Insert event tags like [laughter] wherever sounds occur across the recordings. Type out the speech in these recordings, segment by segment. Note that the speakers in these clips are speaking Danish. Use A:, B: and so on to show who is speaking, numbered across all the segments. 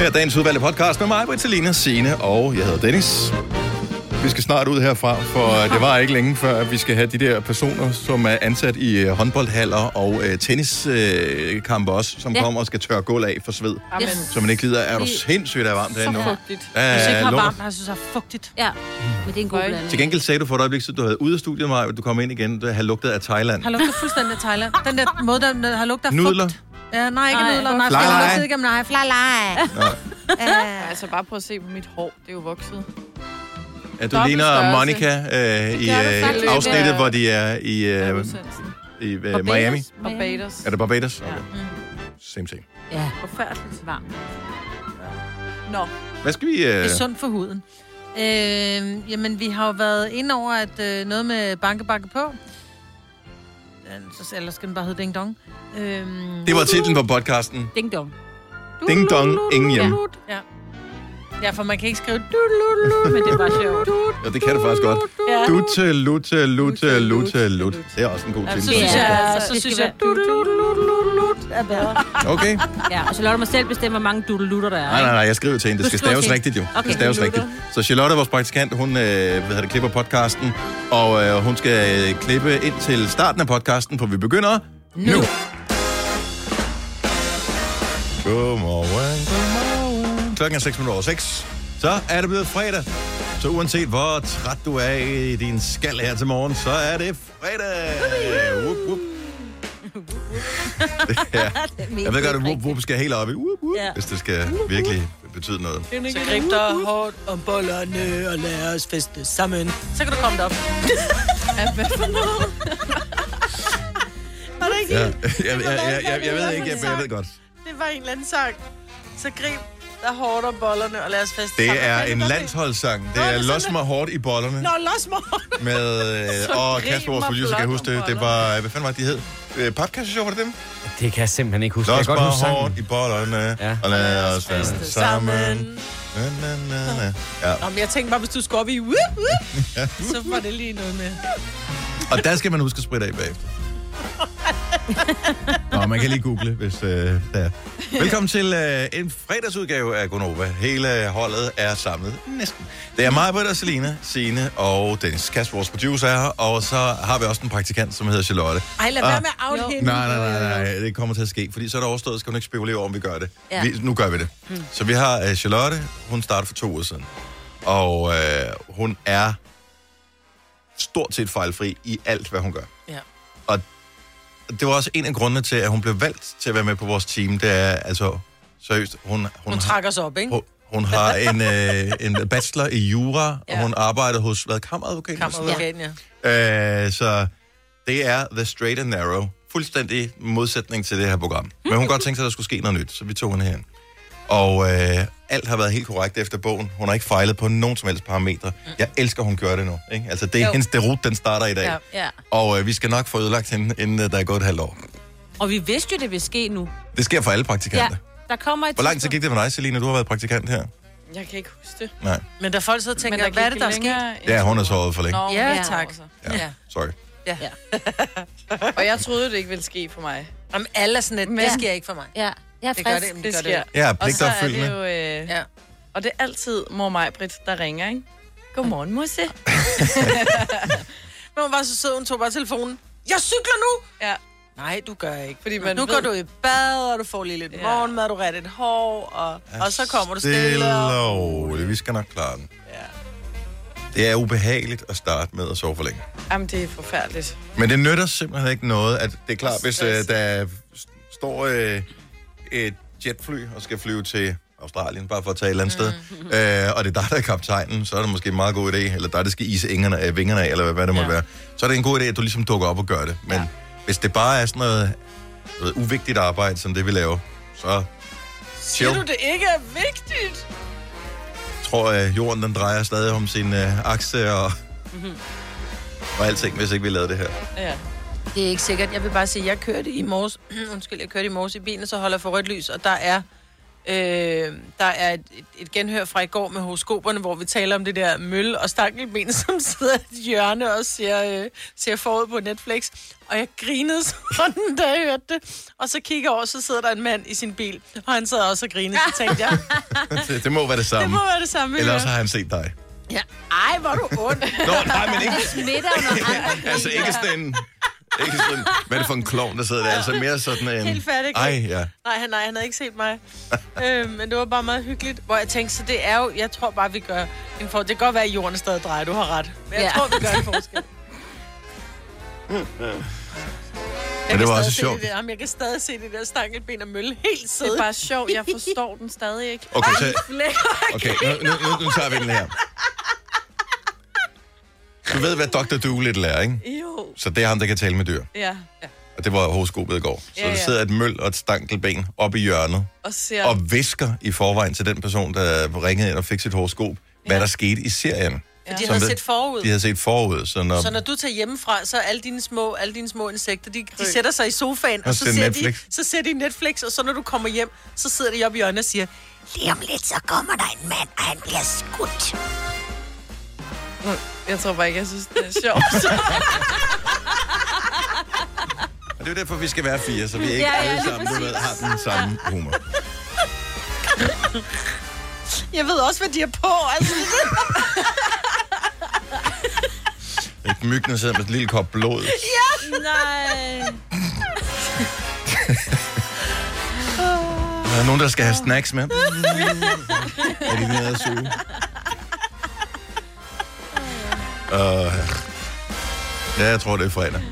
A: her dagens udvalgte podcast med mig, Britalina, Sine og jeg hedder Dennis. Vi skal snart ud herfra, for øh, det var ikke længe før, at vi skal have de der personer, som er ansat i øh, håndboldhaller og øh, tenniskampe også, som
B: Ja.
A: kommer og skal tørre gulv af for sved.
B: Yes.
A: Så man ikke lider, er du
B: Det-
A: sindssygt, der er varmt
C: Så
A: derinde nu.
C: fugtigt.
A: Ja,
C: Hvis ikke har
A: lort.
C: varmt, jeg synes, det er fugtigt.
B: Ja, men det er en god
C: Øj.
B: blanding.
A: Øh, Til gengæld sagde du for et øjeblik, at du havde ude af studiet, Maja, du kom ind igen, du havde lugtet af Thailand.
C: Har lugtet fuldstændig af Thailand. Den der måde, der har lugtet af
A: Nudler.
C: fugt. Ja, nej, ikke
B: Nej.
C: nudler. Nej,
A: Fly.
C: for jeg har lugtet igennem nej. Fly,
D: Ja, altså bare prøv at se på mit hår. Det er jo vokset.
A: Ja, du
D: Dobbelt
A: ligner
D: størrelse.
A: Monica øh, i
D: gør du faktisk.
A: øh, afsnittet,
D: Ja.
A: hvor de er i,
D: Ja.
A: øh,
D: udsendelsen.
A: i øh,
B: Barbados?
A: Miami.
D: Barbados. Mm.
A: Er det Barbados? Okay. Same ting.
B: Ja,
D: Forfærdeligt.
B: varmt.
D: Nå,
A: Hvad skal vi... Øh,
C: Det er sundt for huden. Øh, jamen, vi har jo været inde over at, øh, noget med bankebakke på. Øh, Så, ellers skal den bare hedde Ding Dong. Øh,
A: det var titlen på podcasten.
B: Ding dong.
A: Ding dong, ingen hjem.
C: Ja. ja, for man kan ikke skrive... "Duddeluddelud", Men det er bare sjovt.
A: Ja, det kan det faktisk godt.
C: Ja.
A: Lute, lute, lute, lute, lute. Det er også en god
C: Ja,
A: titel.
C: Så synes
B: Ja,
C: jeg,
B: altså,
C: så
B: det
C: synes
B: skal
C: jeg,
B: være-
C: "Duddeluddelud" er bedre.
A: Okay.
B: Ja, og så lader du mig selv bestemme, hvor mange dudelutter der er.
A: Nej, nej,
B: ikke?
A: nej, jeg skriver til hende. Det
B: Du
A: skal
B: skriver
A: staves
B: til
A: rigtigt, jo. Det skal
B: Okay.
A: staves rigtigt. Så Charlotte, vores praktikant, hun øh, hvad hedder det, klipper podcasten, og øh, hun skal øh, klippe ind til starten af podcasten, for vi begynder nu. nu. Godmorgen. Godmorgen. Klokken er 6 minutter over 6. Så er det blevet fredag. Så uanset hvor træt du er i din skal her til morgen, så er det fredag. Whoop, whoop. [laughs] ja. Jeg ved godt, at whoop, whoop skal helt op i whoop, whoop,
B: Ja.
A: hvis det skal virkelig betyde noget.
C: Så
E: Grib dig hårdt om bollerne og lad os feste sammen.
C: Så kan du komme
D: [laughs]
C: derop.
E: Var det ikke?
A: Ja. [laughs] Jeg, jeg, jeg, jeg, jeg ved ikke, jeg, jeg ved godt.
E: Det var en eller anden sang. Så grib dig hårdt om bollerne og lad os feste sammen.
A: Det er
E: Kan
A: en
E: du godt
A: landsholdssang. Det er
E: det er
A: Los
E: sådan,
A: mig hårdt i bollerne.
E: lide? Nå, los
A: [laughs]
E: morgen.
A: Med, øh, og Kasper, vores
D: rimer
A: producer, kan
D: flot
A: huske det.
D: om
A: Det var, hvad fanden var det, de hed? Øh, Papkasseshow, var det dem?
F: Det kan jeg simpelthen ikke huske. Jeg
A: Los
F: kan godt
A: mig
F: huske sangen.
A: hårdt i bollerne,
F: Ja.
A: og lad os være
E: feste
A: sammen.
E: sammen.
A: Na, na, na, na. Ja.
E: Nå, men jeg tænkte bare, hvis du skulle op i whoop, whoop, så var det lige noget med.
A: Og der skal man huske at spritte af bagefter. Nå, man kan lige google, hvis øh, der er. Velkommen til øh, en fredagsudgave af Gonova. Hele holdet er samlet næsten. Det er mig, Britta, Selina, Signe og Dennis Kasper, vores producer er her. Og så har vi også en praktikant, som hedder Charlotte.
E: Ej, lad
A: Ah.
E: være med at out hende.
A: Nej, nej, nej, nej, det kommer til at ske, fordi så er det overstået, skal hun ikke spekulere over, om vi gør det. Ja.
B: Ja.
A: Vi, nu gør vi det. Mm. Så vi har uh, Charlotte, hun startede for to uger siden, og uh, hun er stort set fejlfri i alt, hvad hun gør.
E: Ja.
A: Og det var også en af grundene til, at hun blev valgt til at være med på vores team, det er altså, seriøst, hun, hun,
E: Hun trækker sig op, ikke?
A: hun, hun har en, øh, en bachelor i jura, ja. og
E: Ja.
A: hun arbejder hos, hvad, kammeradvokat?
E: Kammerorgan, ja.
A: Øh, så det er The Straight and Narrow. Fuldstændig modsætning til det her program. Men hun kunne godt tænke sig, at der skulle ske noget nyt, så vi tog hende herind. Og øh, alt har været helt korrekt efter bogen. Hun har ikke fejlet på nogen som helst parametre. Jeg elsker, hun gør det nu. Ikke? Altså, det er
E: Jo.
A: hendes derut, den starter i dag.
E: Ja.
B: Ja.
A: Og øh, vi skal nok få ødelagt hende, inden øh, der er gået et halvt år.
B: Og vi vidste jo, det ville ske nu.
A: Det sker for alle
B: Ja,
A: praktikanter. Ja.
B: der kommer et
A: Hvor lang tid gik det for dig, Selina? Du har været praktikant her.
D: jeg kan ikke huske det.
A: Nej,
E: Men der folk sidder og tænker, hvad er det, der er sket?
A: ja, hun er såret for længe.
D: Nå,
E: Ja,
B: Ja.
E: tak.
D: altså.
A: Ja.
E: Ja.
A: Sorry.
D: Og jeg troede, det ikke ville ske for mig.
E: Jamen, alle er sådan lidt, det sker ikke for mig.
B: Ja, jeg er
E: Det gør
B: frisk.
E: det, men
D: Det
E: det gør det.
D: sker.
E: ikke.
A: Jeg er
D: Og så er
A: pligtopfyldende.
D: det jo... Øh,
E: Ja.
D: ja. Og det er altid mor mig, Britt, der ringer, ikke? Godmorgen, Musse.
E: Men hun var så sød, hun tog bare telefonen. Jeg cykler nu!
D: Ja.
E: Nej, du gør ikke.
D: Fordi man
E: nu
D: ved-
E: går du i bad, og du får lige lidt ja.
D: Ja.
E: morgenmad, du retter dit hår, og, og så kommer du stille.
A: Stille
E: Og...
A: og roligt. Vi skal nok klare den. Ja. Det er ubehageligt at starte med at sove for længe.
D: Jamen, det er forfærdeligt.
A: Men det nytter simpelthen ikke noget, at det er klart, hvis øh,
D: Stress.
A: der s- står øh, et jetfly og skal flyve til Australien, bare for at tage et eller andet mm. sted, øh, og det er dig, der er kaptajnen, så er det måske en meget god idé, eller dig, der skal ise ingerne, øh, vingerne af, eller hvad, hvad det ja. måtte være. Så er det en god idé, at du ligesom dukker op og gør det. Men ja. hvis det bare er sådan noget, noget uvigtigt arbejde, som det vi laver, så
E: Siger du, det ikke er vigtigt?
A: tror, at jorden den drejer stadig om sin øh, akse og,
E: Mhm.
A: og alting, hvis ikke vi lavede det her.
D: Ja.
E: Det er ikke
C: [clears throat]
E: sikkert. Jeg vil bare sige, jeg kørte i morges, undskyld, jeg kørte i morges i bilen, og så holder jeg for rødt lys, og der er
C: Øh, der er et, et- et genhør fra i går med horoskoperne, hvor vi taler om det der møl og stankelben, [laughs] som sidder i et hjørne og ser, øh, ser forud på Netflix. Og jeg grinede [laughs] sådan, da jeg hørte det. Og så kigger jeg over, så sidder der en mand i sin bil, og han sidder også og griner. Så tænkte jeg,
A: det, det må være det samme.
C: det må være det samme. vi
A: Ellers
C: hører.
A: har han set dig.
C: Ja. Ej, hvor er du ond.
A: Nå, nej, men
C: [laughs]
A: ikke,
B: Smitter jo
A: [laughs]
B: nogle andre
A: altså ikke sådan en... Ikke sådan, hvad er det for en klovn, der sidder der? Altså mere sådan en...
C: Helt færdig.
A: Ej, ja.
C: Nej, han, nej, han havde ikke set mig. [laughs] øh, men det var bare meget hyggeligt. Hvor jeg tænkte, så det er jo... Jeg tror bare, vi gør en for... Det kan godt være, at jorden stadig drejer. Du har ret. Men jeg
B: Ja.
C: ja. tror, vi gør en
B: [laughs]
C: forskel.
A: Men det var
C: Jeg kan
A: også
C: stadig se
A: sjovt.
C: Det der. Jamen, jeg kan stadig se det der stankelben og mølle helt
D: Det
C: sidde.
D: er bare sjovt, jeg forstår den stadig ikke.
A: Okay, så, okay nu, nu, nu, nu tager vi den her. Du ved, hvad Dr. Doolittle er, ikke?
D: Jo.
A: Så det er ham, der kan tale med dyr.
D: Ja. ja.
A: Og det var horoskopet i går. Så
D: Ja,
A: der
D: ja.
A: sidder et møl og et stankelben op i hjørnet,
D: Og ser...
A: og visker i forvejen til den person, der ringede ind og fik sit horoskop, hvad der skete i serien.
C: Ja. De
A: Som
C: havde
A: ved-
C: set forud.
A: De havde set forud, så når...
C: Så når du tager hjemmefra, så er alle dine små, alle dine små insekter, de, de sætter sig i sofaen, og så
A: ser
C: ser, de,
A: Netflix.
C: så ser de Netflix, og så når du kommer hjem, så sidder de oppe i hjørnet og siger,
G: Lige om lidt, så kommer der en mand, og han bliver skudt.
D: Jeg tror bare ikke, jeg synes, det er sjovt. [laughs]
A: Og det er jo derfor, vi skal være fire, så vi ikke
B: Ja,
A: ja,
B: ja,
A: ja, alle
B: lige
A: sammen du ved, har
B: præcis.
A: den samme humor.
C: jeg ved også, hvad de er på. Altså,
A: Ikke myggen sidder med et lille kop [laughs] blod.
E: [laughs]
A: [laughs]
B: Nej.
A: Der er nogen, der skal have snacks med. Er de nede at suge? Uh, ja, jeg tror, det er fredag.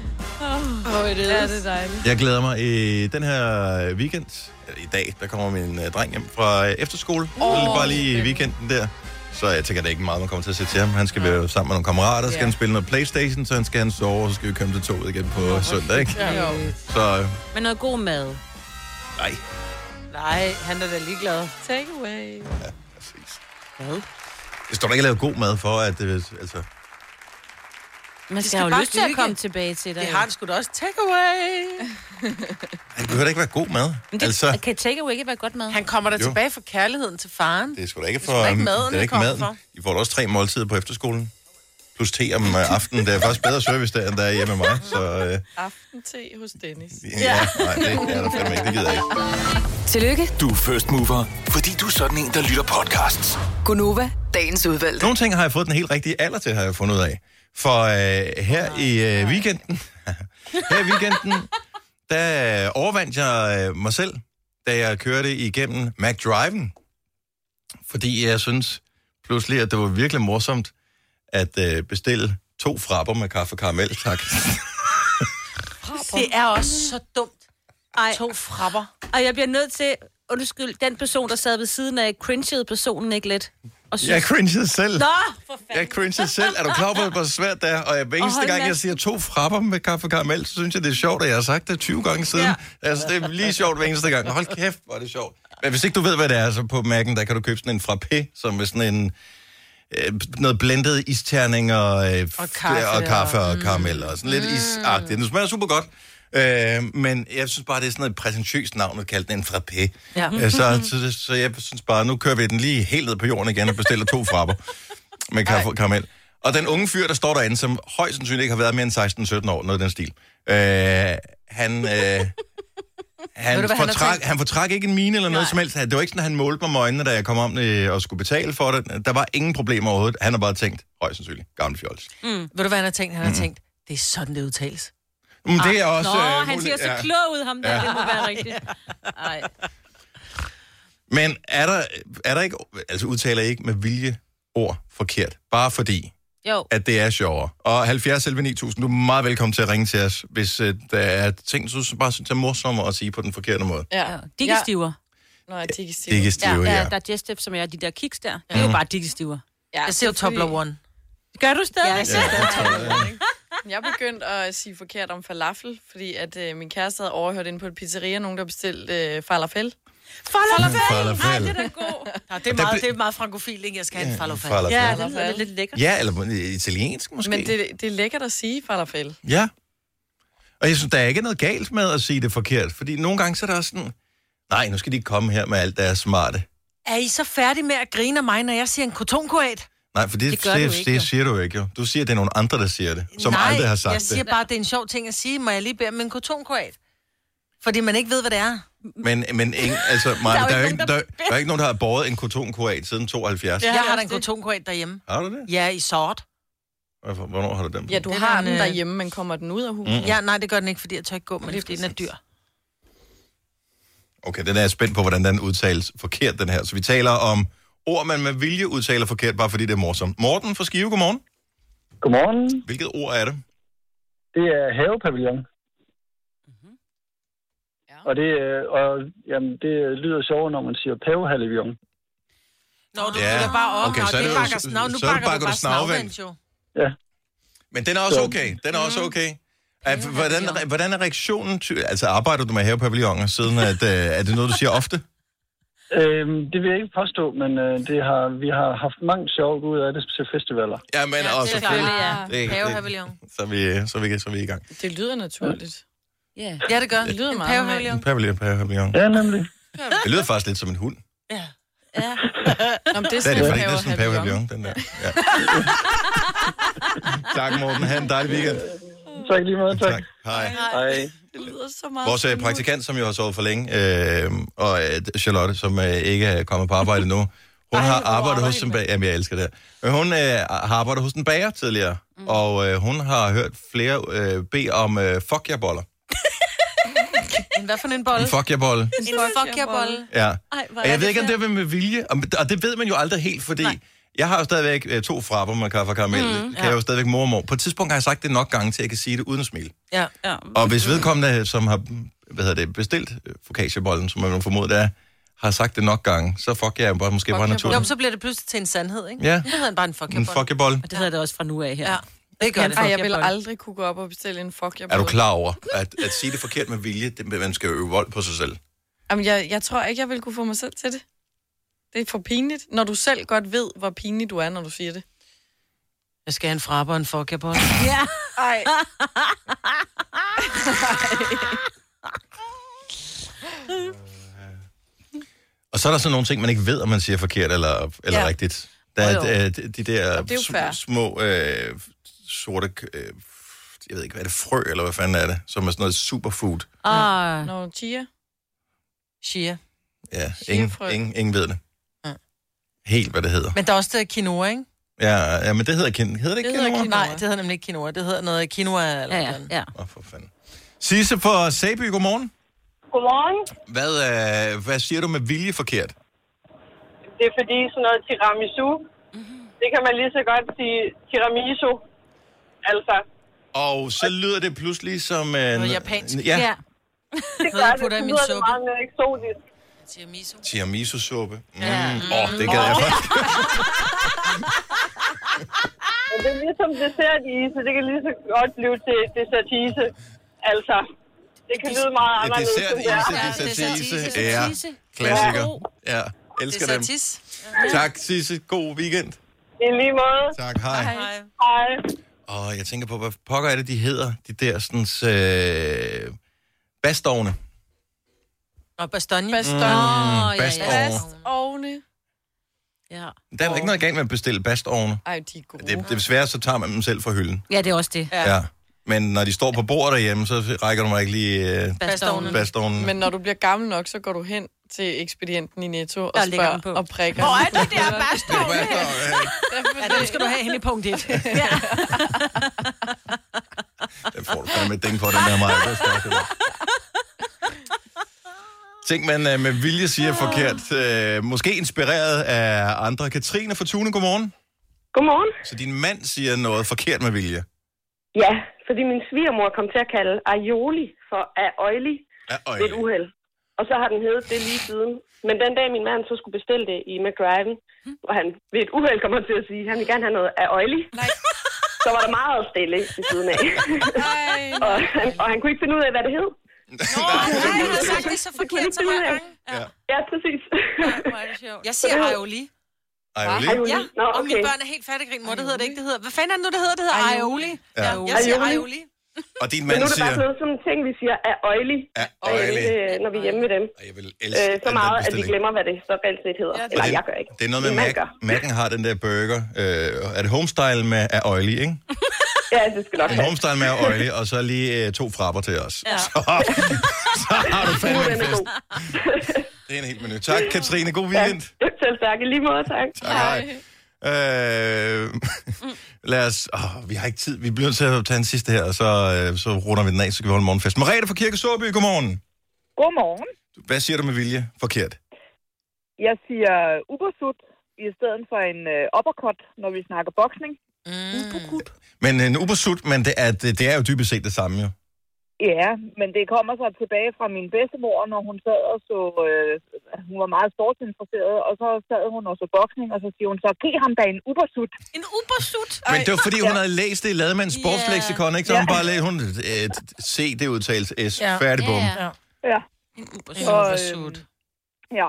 D: ja, det er dejligt.
A: Jeg glæder mig i den her weekend. eller I dag, der kommer min øh, dreng hjem fra øh, efterskole. Oh, bare lige i weekenden der. Så jeg tænker, det er ikke meget, man kommer til at se til ham. Han skal være sammen med nogle kammerater, så skal
D: Ja.
A: han spille noget Playstation, så han skal han sove, og så skal vi komme til toget igen på søndag, ikke?
D: Ja. Jo.
A: Så, øh,
B: Men noget god mad.
A: nej.
C: nej, han er da ligeglad.
D: Take away.
A: Præcis.
B: Hvad?
A: Det står der ikke at lave god mad for, at det, altså...
B: Man skal,
C: skal
B: have jo
C: bare
B: lyst til at
C: hygge.
B: komme tilbage til dig.
C: Det har han sgu da også takeaway.
B: [laughs]
A: Det behøver da ikke være god mad.
B: Men det,
A: Altså,
B: Kan take away ikke være godt mad?
C: Han kommer da
A: Jo.
C: tilbage for kærligheden til faren.
A: det er sgu da ikke
C: sgu
A: for...
C: da ikke maden,
A: det er
C: det
A: ikke
C: kommer
A: maden.
C: fra.
A: I får da også tre måltider på efterskolen. Plus te om øh, aftenen. Det er faktisk bedre service der, end der er hjemme med mig. Så øh,
D: Aftente hos Dennis.
A: ja, nej, det er der fandme ikke. Det gider jeg ikke.
H: Tillykke,
I: Du er first mover, fordi du er sådan en, der lytter podcasts.
H: Gunova, dagens udvalgte.
A: Nogle ting har jeg fået den helt rigtige alder til, har jeg fundet ud af. For øh, her
H: Ah.
A: i øh, weekenden, [laughs] her i weekenden, der øh, overvandt jeg øh, mig selv, da jeg kørte igennem McDriven. Fordi jeg synes pludselig, at det var virkelig morsomt at øh, bestille to frapper med kaffe og karamel, tak.
C: Det er også så dumt. Ej. To frapper.
B: Og jeg bliver nødt til, undskyld, den person, der sad ved siden af, cringede personen ikke lidt? Og synes,
A: Jeg cringede selv.
B: Nå, for fanden.
A: Jeg cringede selv. Er du klar på, hvor svært det er? Og jeg, hver eneste
B: hold
A: gang,
B: da.
A: jeg siger to frapper med kaffe og karamel, så synes jeg, det er sjovt, at jeg har sagt det 20 gange siden. Ja. Altså, det er lige sjovt hver eneste gang. Hold kæft, hvor er det sjovt. Men hvis ikke du ved, hvad det er, så på Mac'en, der kan du købe sådan en frappé, som er sådan en... Øh, noget blendet isterning og, øh, og
C: kaffe
A: og, kaffe
C: og-
A: og karamel og sådan lidt isagtigt. Den smager super godt. Øh, men jeg synes bare, det er sådan et præsentøst navn at kalde den en frappé.
B: Ja.
A: Øh, så, så, så jeg synes bare, nu kører vi den lige helt ned på jorden igen og bestiller to frapper med kaffe og karamel. Og den unge fyr, der står derinde, som højst sandsynligt ikke har været mere end 16-17 år, noget i den stil, øh, han, øh, han,
E: du,
A: du,
E: hvad han har
A: fortrak, han,
E: tænkt?
A: han fortrak ikke en mine eller noget Nej. som helst. Det var ikke sådan, at han målte mig med øjnene, da jeg kom om øh, og skulle betale for det. Der var ingen problemer overhovedet. Han har bare tænkt, højst sandsynligt, gammel fjols.
C: Ved du, hvad han har tænkt? Han
A: Mm.
C: har tænkt, det er sådan, det udtales.
A: Men det er også...
B: Nå, øh, han
A: muligt-
B: ser så
A: ja.
B: klog ud, ham der. Ja. Det må være rigtigt. Ej.
A: Men er der, er der ikke... Altså udtaler I ikke med vilje ord forkert, bare fordi
B: [laughs] Jo.
A: at det er sjovere. Og 70 11 9000, du er meget velkommen til at ringe til os, hvis øh, der er ting, du bare synes er morsommere at sige på den forkerte måde.
D: Ja.
B: Diggestiver.
D: Ja. Nå, Tiki Stiv.
A: Det er ikke stive,
B: Ja,
A: ja. Mm.
B: ja, digestive, som er de der kiks der. Det er jo bare diggestiver.
D: Ja,
C: Jeg ser jo
D: selvfølgelig.
C: Toblerone.
B: Gør du stadig?
C: Ja, ja.
D: [laughs] Jeg begyndte at sige forkert om falafel, fordi at øh, min kæreste havde overhørt inde på et pizzeria, nogen der bestilte øh, falafel.
A: Falafel.
D: Den er god.
C: Nå, det, er
A: Der
C: meget,
A: blev-
C: det er meget frankofil, ikke? Jeg skal have en falafel.
A: Falafel.
B: Ja,
A: Ja.
B: det lyder lidt- lidt lækkert.
A: ja, eller øh, italiensk måske.
D: Men det, det er lækkert at sige falafel.
A: Ja. Og jeg synes, der er ikke noget galt med at sige det forkert, fordi nogle gange så er der også sådan, Nej, nu skal de ikke komme her med alt deres smarte.
C: Er I så færdige med at grine af mig, når jeg siger en kotonkoat?
A: Nej, for det, det,
B: Det gør du
A: det,
B: ikke,
A: det
B: jo.
A: siger du ikke jo. Du siger, at det er nogle andre, der siger det, som
C: Nej,
A: aldrig har sagt
C: jeg siger
A: det.
C: bare, at det er en sjov ting at sige. Må jeg lige bede om en kotonkoat? Fordi man ikke ved, hvad det er.
A: Men, men ingen, [laughs] altså, Maja, der, er jo ikke, der,
C: nogen, der
A: der, er ikke nogen, der har båret en kotonkoat siden 72.
C: Ja,
A: Ja.
C: jeg har da en kotonkoat derhjemme.
A: Har du det?
C: Ja, i sort.
A: Hvorfor- Hvornår har du den på?
D: Ja, du
C: Det er
D: har
C: den,
D: den
C: øh,
D: derhjemme, men kommer den ud af huset?
C: Ja, nej, det gør den ikke, fordi jeg tør ikke gå med det, fordi den er dyr.
A: Okay, den er jeg spændt på, hvordan den udtales forkert, den her. Så vi taler om ord, man med vilje udtaler forkert, bare fordi det er morsomt. Morten fra Skive, godmorgen.
J: Godmorgen.
A: Hvilket ord er det?
J: Det er havepavillon. Og det, øh, og, jamen, det lyder sjovt, når man siger pavehalvion.
C: Nå, du
A: Ja.
C: ja. bare op.
A: Okay,
C: Nå,
A: så er det jo-
C: bakker,
A: så-
C: nå, nu
A: så
C: bakker,
A: bakker
C: du
A: du
C: bare snavvendt,
A: snavvendt.
C: jo.
J: Ja.
A: Men den er også okay. Den er også okay. Er, hvordan, hvordan er reaktionen? Ty- altså, arbejder du med havepavilloner siden, at, øh, er det noget, du siger ofte?
J: Øhm, det vil jeg ikke påstå, men øh, det har, vi har haft mange sjovt ud af det til festivaler.
A: Ja, men ja, også
C: selvfølgelig, ja.
A: det, det,
C: Havepavillon.
A: så, er vi, øh, så, er vi, så er vi i gang.
D: Det lyder naturligt.
B: Ja.
C: Ja, det gør.
D: Det lyder
C: En
D: meget
C: Havepavillon.
A: En pavillon, pavillon.
J: Ja, nemlig.
A: Det lyder faktisk lidt som en hund.
D: Nå, men det er
A: Det er
D: sådan,
A: det,
D: det
A: fordi det er sådan en pavillon, den der.
J: [laughs]
A: Ja. tak, Morten. Ha' en dejlig weekend.
J: Tak lige meget, tak.
A: Hej.
J: Hej.
D: Det lyder så meget.
A: Vores øh, praktikant, som jo har sovet for længe, øh, og øh, Charlotte, som øh, ikke er kommet på arbejde endnu, hun har arbejdet hos en bager. Jamen, jeg elsker det her. Men Hun øh, har arbejdet hos en bager tidligere, mm. og øh, hun har hørt flere øh, bede om øh, fuck jer boller.
C: En hvad for en bolle?
A: En fuck jer bolle.
C: En fuck jer bolle.
A: Ja.
B: Ej, hvor
A: Og jeg ved ikke, om det var med vilje, og, og det ved man jo aldrig helt, fordi Nej. jeg har jo stadigvæk øh, to frapper med kaffe og karamel, mm, kan jeg jo stadigvæk mormor. På et tidspunkt har jeg sagt det nok gange til, at jeg kan sige det uden smil.
C: Ja.
B: Ja.
A: Og hvis vedkommende, øh, som har hvad hedder det, bestilt øh, focaccia-bollen, som man må formode det er, har sagt det nok gange, så fuck jeg bare, måske bare
C: Jo,
A: naturligt.
C: men så bliver det pludselig til en sandhed, ikke?
A: Ja.
C: Det hedder han bare en fuck jer
A: En
C: bolle.
A: fuck jer bolle.
B: Og det hedder det også fra nu af her.
C: Ja,
B: Ja.
C: det gør det.
D: Ej, jeg vil aldrig kunne gå op og bestille en fuck jer
A: Er du
D: bolle.
A: klar over, at, at sige det forkert med vilje, det, man skal jo øve vold på sig selv?
D: Jamen, jeg, jeg tror ikke, jeg vil kunne få mig selv til det. Det er for pinligt, når du selv godt ved, hvor pinlig du er, når du siger det.
C: Jeg skal have en frapper og en fuck jer bolle.
D: Ej.
A: Og så er der sådan nogle ting, man ikke ved, om man siger forkert eller, eller ja. rigtigt. Der er
B: Jo, jo.
A: øh, de de der
D: det er jo
A: sm-
D: fair.
A: små øh, sorte, øh, jeg ved ikke, hvad er det, frø, eller hvad fanden er det, som er sådan noget superfood.
C: Ah,
D: Når chia.
C: chia.
A: Ja, ingen,
D: Chiafrø.
A: ingen, ingen ved det.
C: Ja.
A: Helt, hvad det hedder.
C: Men der er også det quinoa, ikke?
A: Ja, ja men det hedder, kin- hedder det ikke
D: Det hedder
A: quinoa?
D: quinoa.
C: Nej, det hedder nemlig ikke quinoa. Det hedder noget quinoa eller
B: Ja,
C: ja,
B: ja, ja.
A: Åh, oh, for fanden. Sisse fra Sæby, godmorgen.
K: Godmorgen.
A: Hvad, øh, hvad siger du med vilje forkert?
K: Det er fordi sådan noget tiramisu, det kan man lige så godt sige tiramisu. Altså,
A: Og så lyder det pludselig som... Øh, Noget
C: japansk.
A: Ja,
B: ja.
A: ja.
K: det
C: Noget,
K: gør
C: jeg
K: det,
C: putter i
K: det
C: min
K: lyder det
C: suppe.
K: meget mere eksotisk.
C: Tiramisu.
A: tiramisu-suppe. Åh, mm. ja. oh, det gad jeg faktisk.
K: Men det er ligesom dessertise, det kan lige så godt blive til dessertise. Altså, det kan lyde meget
A: Ja,
K: anderledes.
A: dessert,
K: end det er.
A: ise, dessert, ise. Ja, klassiker. Ja, elsker dem.
C: Tis.
A: Tak, Sisse. God weekend.
K: I lige måde.
A: Tak, hej.
C: Hej.
K: Hej.
A: Og jeg tænker på, hvad pokker er det, de hedder? De der sådan... Øh, bastovne.
C: Og bastonje.
A: Mm,
D: Baston.
B: Åh, ja, ja.
A: Bastovne.
D: Ovne.
B: ja.
A: Der er da ikke noget galt med at bestille bastovne.
D: Ej, de er gode.
A: Det, det er svært, så tager man dem selv fra hylden.
B: Ja, det er også det.
A: Ja. ja. Men når de står på bordet derhjemme, så rækker du mig ikke lige øh,
B: Bastovnen.
A: bastovnen.
D: Men når du bliver gammel nok, så går du hen til ekspedienten i Netto og
B: Der ligger den på.
D: spørger og prikker.
E: Hvor er det der
A: Det
E: Baston?
A: er bastovnen.
C: Ja, den skal du have hende i punkt 1.
A: Den får du fandme et ding på, den der meget. Det er stærkt, det der. Ting, man øh, med vilje siger forkert. Øh, måske inspireret af andre. Katrine fra Tune, godmorgen.
K: Godmorgen.
A: Så din mand siger noget forkert med vilje.
K: Ja, fordi min svigermor kom til at kalde aioli for aioli
A: Ja, øj.
K: ved et uheld. Og så har den heddet det lige siden. Men den dag, min mand så skulle bestille det i McDriven, hvor han ved et uheld kommer til at sige, at han vil gerne have noget af øjelig, så var der meget stille i siden af. og, han, og han kunne ikke finde ud af, hvad det hed.
C: Nej, jeg har sagt
K: [laughs]
C: det så forkert så mange gange.
K: Ja, præcis. [laughs]
C: Jeg siger aioli.
A: Aioli.
K: Aioli.
C: Ja,
K: Nå,
C: og
A: Og din
L: Men
A: mand
L: nu er det bare
A: siger,
L: sådan noget, sådan nogle ting, vi siger, er øjlig,
A: er
L: og jeg
A: øjelig.
L: vil, øh, når vi er hjemme ved dem.
A: Jeg vil
L: øh,
A: elske
L: så
A: den
L: meget, at vi
A: bestilling.
L: glemmer, hvad det så reelt set hedder. Eller jeg gør ikke.
A: Det er noget med
L: Min mand
A: Mac.
L: gør.
A: Mac'en har den der burger. Øh, er det homestyle med er oily, ikke?
L: Ja, det skal nok
A: En
L: være.
A: homestyle med er oily, og så lige øh, to frapper til os.
L: Ja.
A: Så, så har du fandme
L: Nu er
A: en
L: den
A: fest.
L: god.
A: Det er en helt menu. Tak, Katrine. God weekend.
L: Ja, selv tak. I lige måde, tak.
A: Tak, hej. Øh, [laughs] lad os... Åh, vi har ikke tid. Vi bliver nødt til at tage en sidste her, og så, øh, så runder vi den af, så kan vi holde morgenfest. Merete fra Kirke Såby, godmorgen.
M: Godmorgen.
A: Hvad siger du med vilje? Forkert.
M: Jeg siger ubersut i stedet for en øh, uppercut, når vi snakker boksning. Mm.
A: Men øh, en ubersut, men det er, det, det er jo dybest set det samme, jo.
M: Ja, men det kommer så tilbage fra min bedstemor, når hun sad og så... Øh, hun var meget sportsinteresseret, og så sad hun og så boksning, og så siger hun så, giv ham da en ubersut.
C: En ubersut?
A: Men det var, fordi hun havde læst det i Lademands sportsleksikon, ikke? Så hun
M: Ja.
A: bare lagde, hun, øh, se det udtales S,
M: Ja.
A: færdig bum.
M: Ja. ja. En
N: ubersut.
C: [laughs]
N: Ubersut.
M: Ja.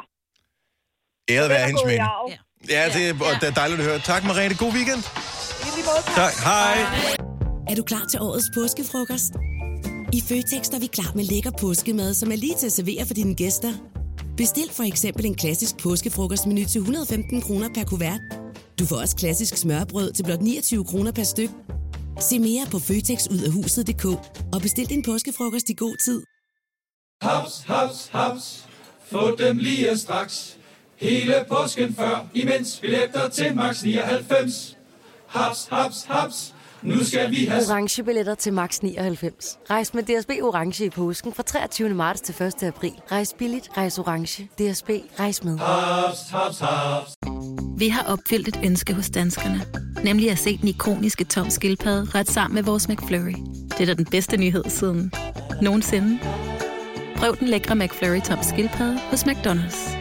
A: Æret være
M: Den er
A: hendes
M: gået i
A: mening.
M: arv.
A: Ja, det er, og det er dejligt at høre. Tak, Merete. God weekend.
M: I lige måde,
A: Tak. Hej.
O: Er du klar til årets påskefrokost? I Føtex er vi klar med lækker påskemad, som er lige til at servere for dine gæster. Bestil for eksempel en klassisk påskefrokostmenu til 115 kroner per kuvert. Du får også klassisk smørbrød til blot 29 kroner per styk. Se mere på føtexudafhuset.dk og bestil din påskefrokost i god tid.
P: Haps, haps, haps. Få dem lige straks. Hele påsken før, imens billetter til max 99. Haps, haps, haps. Nu skal vi have...
Q: orange billetter til max 99. Rejs med DSB orange i påsken fra 23. marts til 1. april. Rejs billigt, rejs orange. DSB rejs med.
P: Ah, Haps, haps, haps.
R: Vi har opfyldt et ønske hos danskerne. Nemlig at se den ikoniske tom skildpadde ret sammen med vores McFlurry. Det er da den bedste nyhed siden nogensinde. Prøv den lækre McFlurry tom skildpadde hos McDonald's.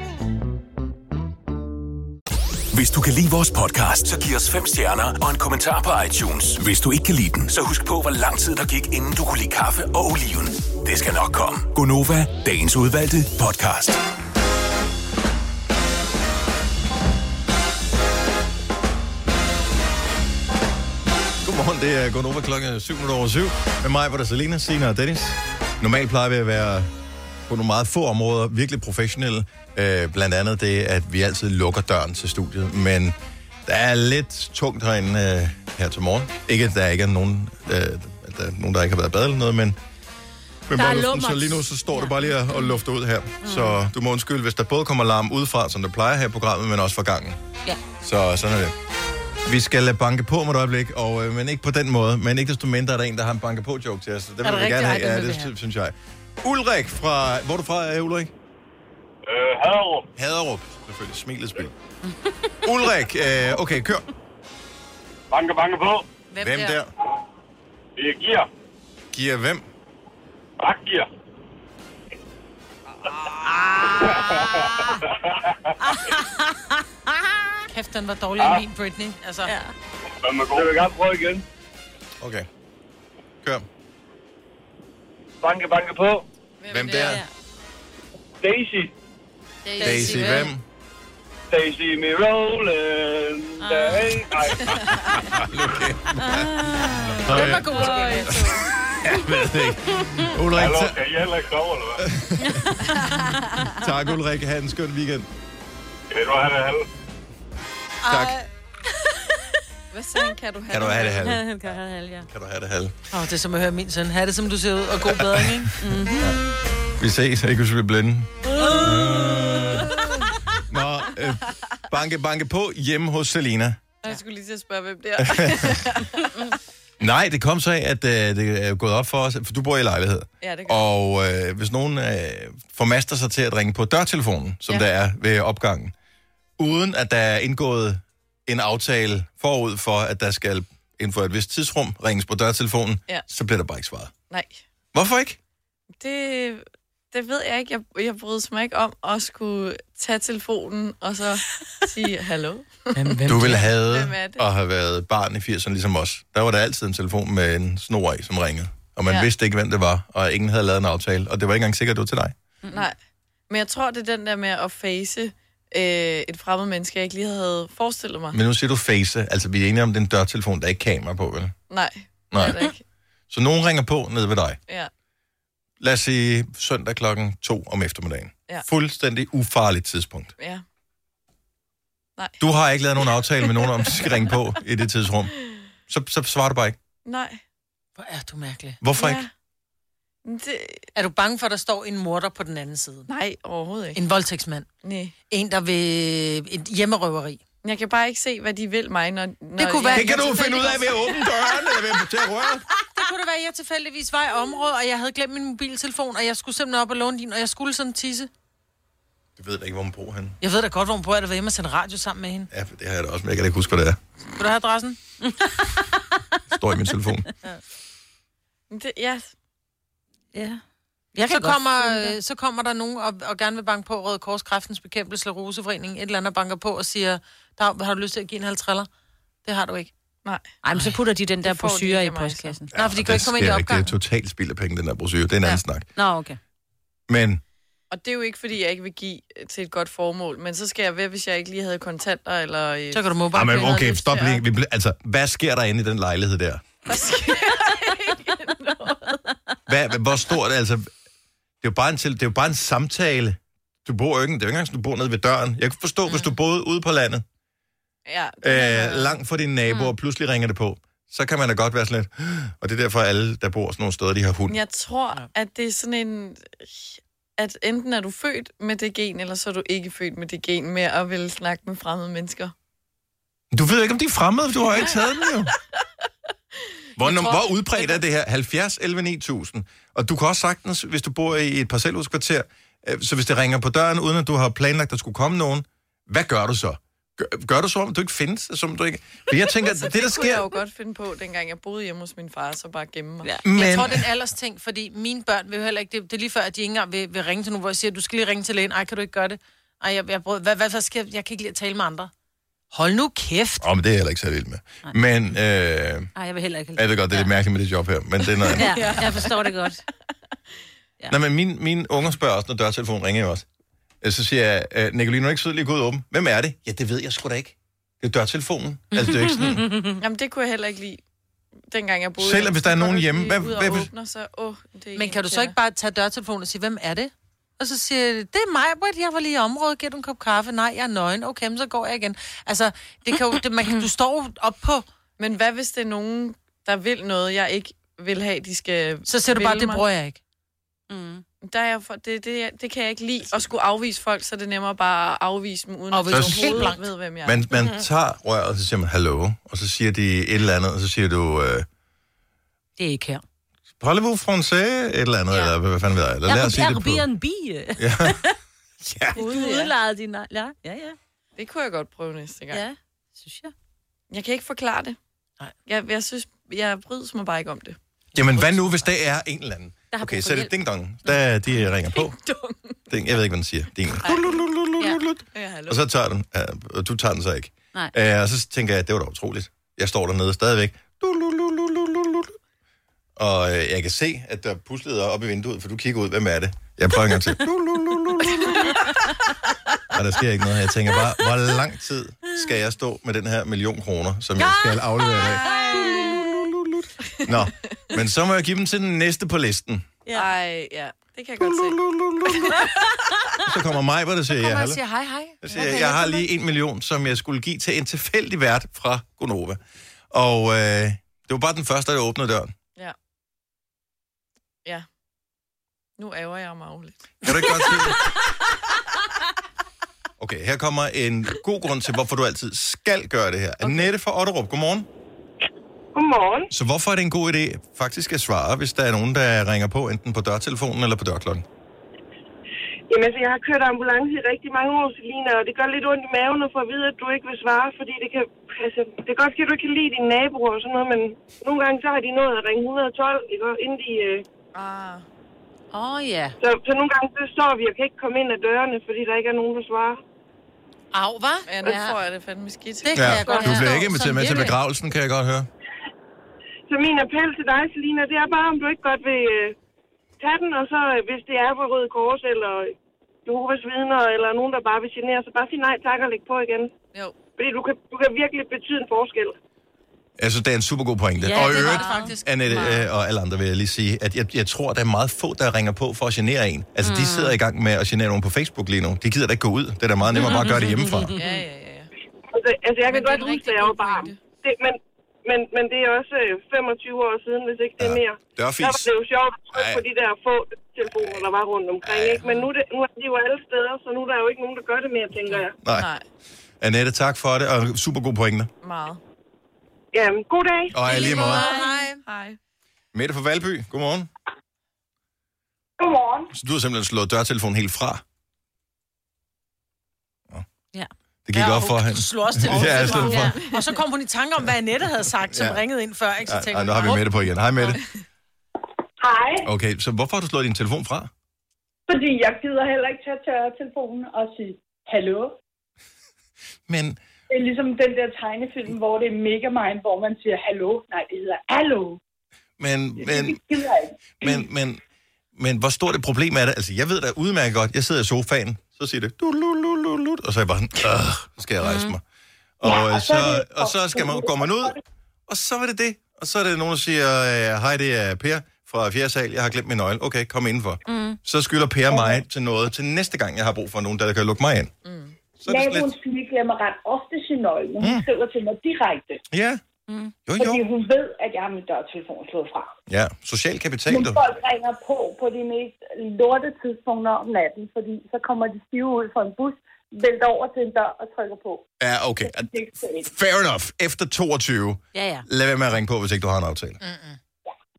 I: Hvis du kan lide vores podcast, så giv os fem stjerner og en kommentar på iTunes. Hvis du ikke kan lide den, så husk på, hvor lang tid der gik, inden du kunne lide kaffe og oliven. Det skal nok komme.
A: Gonova,
I: Dagens udvalgte podcast.
A: Godmorgen, det er Gonova klokken 7 over 7. Med mig var der Selina, Sina og Dennis. Normalt plejer vi at være på nogle meget få områder virkelig professionelle. Øh, blandt andet det, at vi altid lukker døren til studiet. Men der er lidt tungt herinde øh, her til morgen. Ikke, at der ikke er nogen, øh, at der, er nogen der ikke har været i bad eller noget, men... Men
J: Der er
A: bare luften, så
J: lummert. Mm.
A: lige nu så står det bare lige og og lufter ud her. Så du må undskylde, hvis der både kommer larm udefra, som der plejer her i programmet, men også fra gangen.
J: Ja.
A: Så sådan er det. Vi skal lade banke på om et øjeblik, og, øh, men ikke på den måde. Men ikke desto mindre er der en, der har en banke på-joke til os. Det vil
S: det
A: vi
S: rigtigt?
A: gerne
S: Ej,
A: have.
S: den
A: Ja,
S: vil vi
A: det
S: have.
A: sy- synes jeg. Ulrik fra... Hvor er du fra, øh, Ulrik? Øh, Haderup. Haderup, selvfølgelig. Smilet spil. [laughs] Ulrik, øh, okay, kør. Banke, banke på. Hvem, hvem der? der? Det er Gear. Gear hvem? Bakgear.
C: Kæft, den var dårlig ja. min Britney. Altså. Ja.
E: Men man går. Jeg vil gerne prøve igen.
A: Okay. Kør.
E: Banke, banke på.
A: Hvem der?
E: Daisy.
A: Daisy [laughs] hvem?
E: Daisy me rolling. Daisy. Ej. Ah.
A: Den var
N: god.
A: Jeg ved ikke. Ulrik,
E: Hallo,
A: ta-
E: kan I heller ikke sove, eller hvad?
A: tak Ulrik. Ha' en skøn weekend.
E: Kan du have det halve?
A: Tak.
C: [laughs]
D: Hvad sagde han? Kan du have
A: Kan du have det halve?
C: Han kan have halv, ja.
A: Kan du have det halve?
C: Åh, oh, det er som at høre min søn. Ha' det, som du ser ud, og god bedring, ikke? Mm-hmm.
A: Vi ses, ikke hvis vi bliver blinde. Nå, øh, banke, banke på hjemme hos Selina.
D: Jeg skulle lige til at spørge, hvem det er.
A: Nej, det kom så af, at øh, det er gået op for os, for du bor i lejlighed.
D: Ja, det gør
A: Og øh, hvis nogen øh, formaster sig til at ringe på dørtelefonen, som ja. der er ved opgangen, uden at der er indgået en aftale forud for, at der skal inden for et vist tidsrum ringes på dørtelefonen,
D: Ja.
A: så bliver der bare ikke svaret.
D: [laughs] Nej,
A: Hvorfor ikke?
D: det, det ved jeg ikke. Jeg, jeg bryder mig ikke om at skulle tage telefonen og så sige hallo.
A: Hvem du ville have
D: Hvem er det?
A: og have været barn i 80'erne ligesom os. Der var der altid en telefon med en snor i, som ringede. Og man
D: Ja.
A: ja. vidste ikke, hvem det var, og ingen havde lavet en aftale. Og det var ikke engang sikkert, at det var til dig.
D: Mm. Nej, men jeg tror, det er den der med at face øh, et fremmed menneske, jeg ikke lige havde forestillet mig.
A: Men nu siger du face. Altså, vi er enige om, den dørtelefon, der er ikke kamera på, vel?
D: Nej,
A: Nej.
D: det er det ikke.
A: Så nogen ringer på nede ved dig.
D: Ja.
A: Lad os sige søndag klokken 2 om eftermiddagen.
D: Ja.
A: Fuldstændig ufarligt tidspunkt.
D: Ja.
A: Du har ikke lavet nogen aftale med nogen om, at de skal ringe på i det tidsrum. Så, så svarer du bare ikke.
D: Nej.
C: Hvor er du mærkelig.
A: Hvorfor ikke?
D: Det...
C: Er du bange for, at der står en morder på den anden side?
D: Nej, overhovedet ikke.
C: En voldtægtsmand?
D: Nej.
C: En, der vil... Et hjemmerøveri?
D: Jeg kan bare ikke se, hvad de vil mig, når... når
C: kunne være-
A: Det kan du finde ud af ved at åbne dørene, eller ved at tage røret.
C: Det kunne det være, at jeg tilfældigvis var i området, og jeg havde glemt min mobiltelefon, og jeg skulle simpelthen op og låne din, og jeg skulle sådan tisse.
A: Jeg ved da ikke, hvor man bor henne.
C: Jeg ved da godt, hvor hun bor, at jeg var hjemme og sendte radio sammen med hende.
A: Ja, for det har jeg da også, men jeg kan da ikke huske, hvad det er.
C: Kunne du have adressen?
A: Det står i min
C: [laughs]
A: telefon.
D: Det, ja.
B: Ja.
C: Jeg så,
B: kan godt
C: kommer,
B: finde
C: øh, så kommer der nogen og, og gerne vil banke på Røde Kors Kræftens Bekæmpelse Roseforening, et eller andet banker på og siger, Dag, har du lyst til at give en halv triller? Det har du ikke.
D: Nej.
B: Ej, men så putter de den der
C: får de
B: brosyre i
C: ikke af mig, så.
B: postkassen.
C: Nej, for de kan
A: Og det
C: ikke komme ind i
A: sker ikke.
C: opgangen.
A: Det er totalt spild af penge, den der brochure. Det er en anden snak.
B: Nå, okay.
A: Men
D: Og det er jo ikke, fordi jeg ikke vil give øh, til et godt formål, men så skal jeg ved, hvis jeg ikke lige havde kontanter, eller... øh,
C: Så kan du
A: Ej,
C: mobile.
A: Ah, men okay, stop lige. Vi ble, altså, hvad sker der inde i den lejlighed der? Hvad, hvor stort er altså... Det er, jo bare en, til- det er jo bare en samtale. Du bor jo ikke, det er jo ikke engang, sådan, du bor nede ved døren. Jeg kan forstå, mm. hvis du boede ude på landet,
D: Ja.
A: øh, langt fra dine naboer, mm. pludselig ringer det på, så kan man da godt være sådan lidt... Og det er derfor, alle, der bor sådan nogle steder, de har hund.
D: Men Jeg tror, at det er sådan en... At enten er du født med det gen, eller så er du ikke født med det gen med at ville snakke med fremmede mennesker.
A: Du ved ikke, om de er fremmede, for du har jo ikke taget dem jo. Hvor, tror, hvor udbredt er det her? 70, 11, 9000. Og du kan også sagtens, hvis du bor i et parcelhuskvarter, øh, så hvis det ringer på døren, uden at du har planlagt, at der skulle komme nogen, hvad gør du så? Gør, gør du så, om du ikke findes? Som du ikke... For jeg
D: [laughs]
A: tænker,
D: så
A: det, der
D: kunne jeg jo
A: sker...
D: godt finde på, dengang jeg boede hjemme hos min far, så bare gemme mig. Ja.
C: Men...
A: Men-
C: Jeg tror, det er en alders ting, fordi mine børn vil jo heller ikke... Det, det er lige før, at de ikke engang vil, vil ringe til nogen, hvor jeg siger, du skal lige ringe til lægen. Ej, kan du ikke gøre det? Ej, jeg, jeg, brød, hvad, hvad, hvad skal jeg, jeg kan ikke lide at tale med andre. Hold nu kæft.
A: Åh, oh, men det er jeg heller ikke så vild med. Men, øh,
B: Ej, jeg vil heller ikke.
A: jeg ved godt, det er lidt mærkeligt med det job her, men det er noget andet.
B: Ja, jeg forstår det godt.
A: Ja. Nå, men mine, mine unger spørger også, når dørtelefonen ringer jo også. Øh, Så siger jeg, øh, Nicoline, er du ikke sød lige gå ud og åbne? Hvem er det? Ja, det ved jeg sgu da ikke. Det er
D: [laughs]
A: dørtelefonen. Altså, det er jo ikke sådan...
D: Jamen, det kunne jeg heller ikke lide, dengang jeg boede
A: Selvom
D: hjemme.
A: hvis der er
D: Så går
A: nogen
D: du
A: hjemme,
D: lige
A: hvad-
D: ud og
A: hvad hvis-
D: åbner, så, åh, det er
C: Men
D: en,
C: kan du
D: jeg
C: så ikke bare tage dørtelefonen og sige, hvem er det? Og så siger jeg, det er mig, Britt, jeg var lige i området, giver du en kop kaffe? Nej, jeg er nøgen. Okay, men så går jeg igen. Altså, det kan jo, det, man, kan- du står jo op på...
D: Men hvad hvis det er nogen, der vil noget, jeg ikke vil have, de skal
C: Så siger du
D: vælge
C: bare, det
D: mig?
C: bruger jeg ikke.
D: Mm. Der er jeg for, det, det, det kan jeg ikke lide, at skulle afvise folk, så er det nemmere bare at afvise dem, uden at
A: hvis
D: de
A: du er helt
D: overhovedet
A: blank.
D: ved, hvem jeg er.
A: Man,
D: [laughs]
A: man tager røret, og så siger man hallo, og så siger de et eller andet, og så siger du, øh,
B: Det er ikke her.
A: parlez-vous français, et eller andet, ja. eller hvad fanden ved jeg, eller
B: Jeg
A: lad os sige
B: er
A: det på.
B: en bie.
A: Ja.
D: Ja.
B: Du udlejede din... Ja, ja, ja.
D: Det kunne jeg godt prøve næste gang.
B: Ja, synes jeg.
D: Jeg kan ikke forklare det. Nej. Jeg, jeg synes, jeg brydes mig bare ikke om det.
A: Jamen, hvad nu, hvis det er en eller anden?
D: Der har
A: Okay,
D: brug for
A: så er det
D: hjælp.
A: ding-dong, der de ringer på. Ding, jeg ved ikke, hvad den siger. Ding.
D: Ja, hallo.
A: Og så tager den, ja, og du tager den så ikke.
B: Nej.
A: Øh, og så tænker jeg, at det var da utroligt. Jeg står dernede stadigvæk. Og øh, jeg kan se, at der er pusleder op i vinduet, for du kigger ud. Hvem er det? Jeg prøver en gang til. Og der sker ikke noget. Jeg tænker bare, hvor lang tid skal jeg stå med den her million kroner, som jeg skal aflevere i dag? Nå, men så må jeg give dem til den næste på listen.
D: Ja. Ej, ja. Det kan jeg godt se.
A: Så kommer mig, hvor der siger, ja,
C: Kommer og
A: hallo.
C: siger, hej, hej.
A: Jeg, siger, jeg har lige en million, som jeg skulle give til en tilfældig vært fra Gonova. Og øh, det var bare den første, der åbnede døren.
D: ja. Ja. Nu ærger jeg mig jo lidt.
A: Kan du ikke godt se det? Okay, her kommer en god grund til, hvorfor du altid skal gøre det her. Okay. Annette fra Otterup, godmorgen.
L: Godmorgen.
A: Så hvorfor er det en god idé faktisk at svare, hvis der er nogen, der ringer på, enten på dørtelefonen eller på dørklokken?
L: Jamen, altså, jeg har kørt ambulance i rigtig mange år, Selina, og det gør lidt ondt i maven at få at vide, at du ikke vil svare, fordi det kan, altså, det kan godt ske, at du ikke kan lide dine naboer og sådan noget, men nogle gange så har de nået at ringe 112, ikke, og inden de... Øh,
D: ah.
C: Åh, oh, ja.
L: så, så nogle gange så står vi og kan ikke komme ind ad dørene, fordi der ikke er nogen, der svarer.
C: Au, hvad?
D: Ja, nu får jeg det fandme skidt.
C: Det
A: du bliver ikke inviteret med til begravelsen, kan jeg godt høre.
L: Så min appel til dig, Selina, det er bare, om du ikke godt vil øh, tage den, og så øh, hvis det er på Røde Kors eller Jehovas vidner, eller nogen, der bare vil genere, så bare sig nej tak og læg på igen.
D: Jo.
L: Fordi du kan, du kan virkelig betyde en forskel.
A: Jeg synes, det er en super god pointe.
E: Ja,
A: og
E: det
A: i
E: var
A: øvrigt,
E: det faktisk.
A: Annette øh, og alle andre vil jeg lige sige, at jeg, jeg tror, der er meget få, der ringer på for at genere en. Altså, mm. de sidder i gang med at genere nogen på Facebook lige nu. De gider da ikke gå ud. Det er da meget nemmere bare at gøre det hjemmefra.
E: Ja, ja,
L: Altså, altså jeg kan godt huske, da jeg var barn. Det, men, men, men det er også øh, 25 år siden, hvis ikke det er mere.
A: det er
L: Der
A: fint.
L: var det jo sjovt at trykke
A: Ej.
L: på de der få telefoner, der var rundt omkring. Ikke? Men nu, er det, nu er de jo alle steder, så nu er der jo ikke nogen, der gør det mere, tænker jeg.
A: Nej.
E: Mm-hmm.
A: Annette, tak for det, og super gode pointe.
L: Meget. Jamen, god dag.
A: Og i lige måde.
L: Hej. Hej.
A: Mette fra Valby, godmorgen.
L: Godmorgen.
A: Så du har simpelthen slået dørtelefonen helt fra.
C: Ja.
A: Det gik op for
E: Du
A: hende.
E: slog også til
A: [laughs] ja, jeg slog for.
E: Og så kom hun i tanke om, hvad Annette havde sagt, som
A: Ja.
E: ja. ringede ind før. Ikke? Så
A: Ej,
E: tænkte hun
A: ej, Ah, nu har vi
E: bare,
A: Mette på igen. Hej Mette.
M: Hej,
A: Okay, så hvorfor har du slået din telefon fra?
M: fordi jeg gider heller ikke tage tørre telefonen og sige, hallo.
A: [laughs] Men...
M: Det er ligesom den der tegnefilm, hvor det er mega mind, hvor man siger, hallo. Nej, det hedder hallo.
A: Men, men,
M: Gider jeg ikke.
A: men, men, men hvor stort et problem er det? Altså, jeg ved da udmærket godt, jeg sidder i sofaen, så siger det, du, lu, lu, lu, lu, og så er jeg bare sådan, "Åh, nu skal jeg rejse mig. Og, øh, så, og så skal man, går man ud, og så er det det. Og så er det nogen, der siger, øh, hej, det er Per fra 4. sal, jeg har glemt min nøgle. Okay, kom indenfor.
M: Mm.
A: Så skylder Per mig til noget til næste gang, jeg har brug for nogen, der kan lukke mig ind.
M: Så Naboens pige glemmer ret ofte sin nøgle, men hun skriver til mig direkte.
A: Ja,
M: Mm.
A: Mm. Jo, jo.
M: Fordi hun ved, at jeg har min dørtelefon slået fra.
A: ja, social kapital,
M: Men
A: du.
M: folk ringer på på de mest lorte tidspunkter om natten, fordi så kommer de stive ud fra en bus, vælter over til en dør og trykker på.
A: Ja, okay.
M: Det er ikke så let.
A: Fair enough. Efter 22,
M: Ja, ja.
A: lad være med at ringe på, hvis ikke du har en aftale.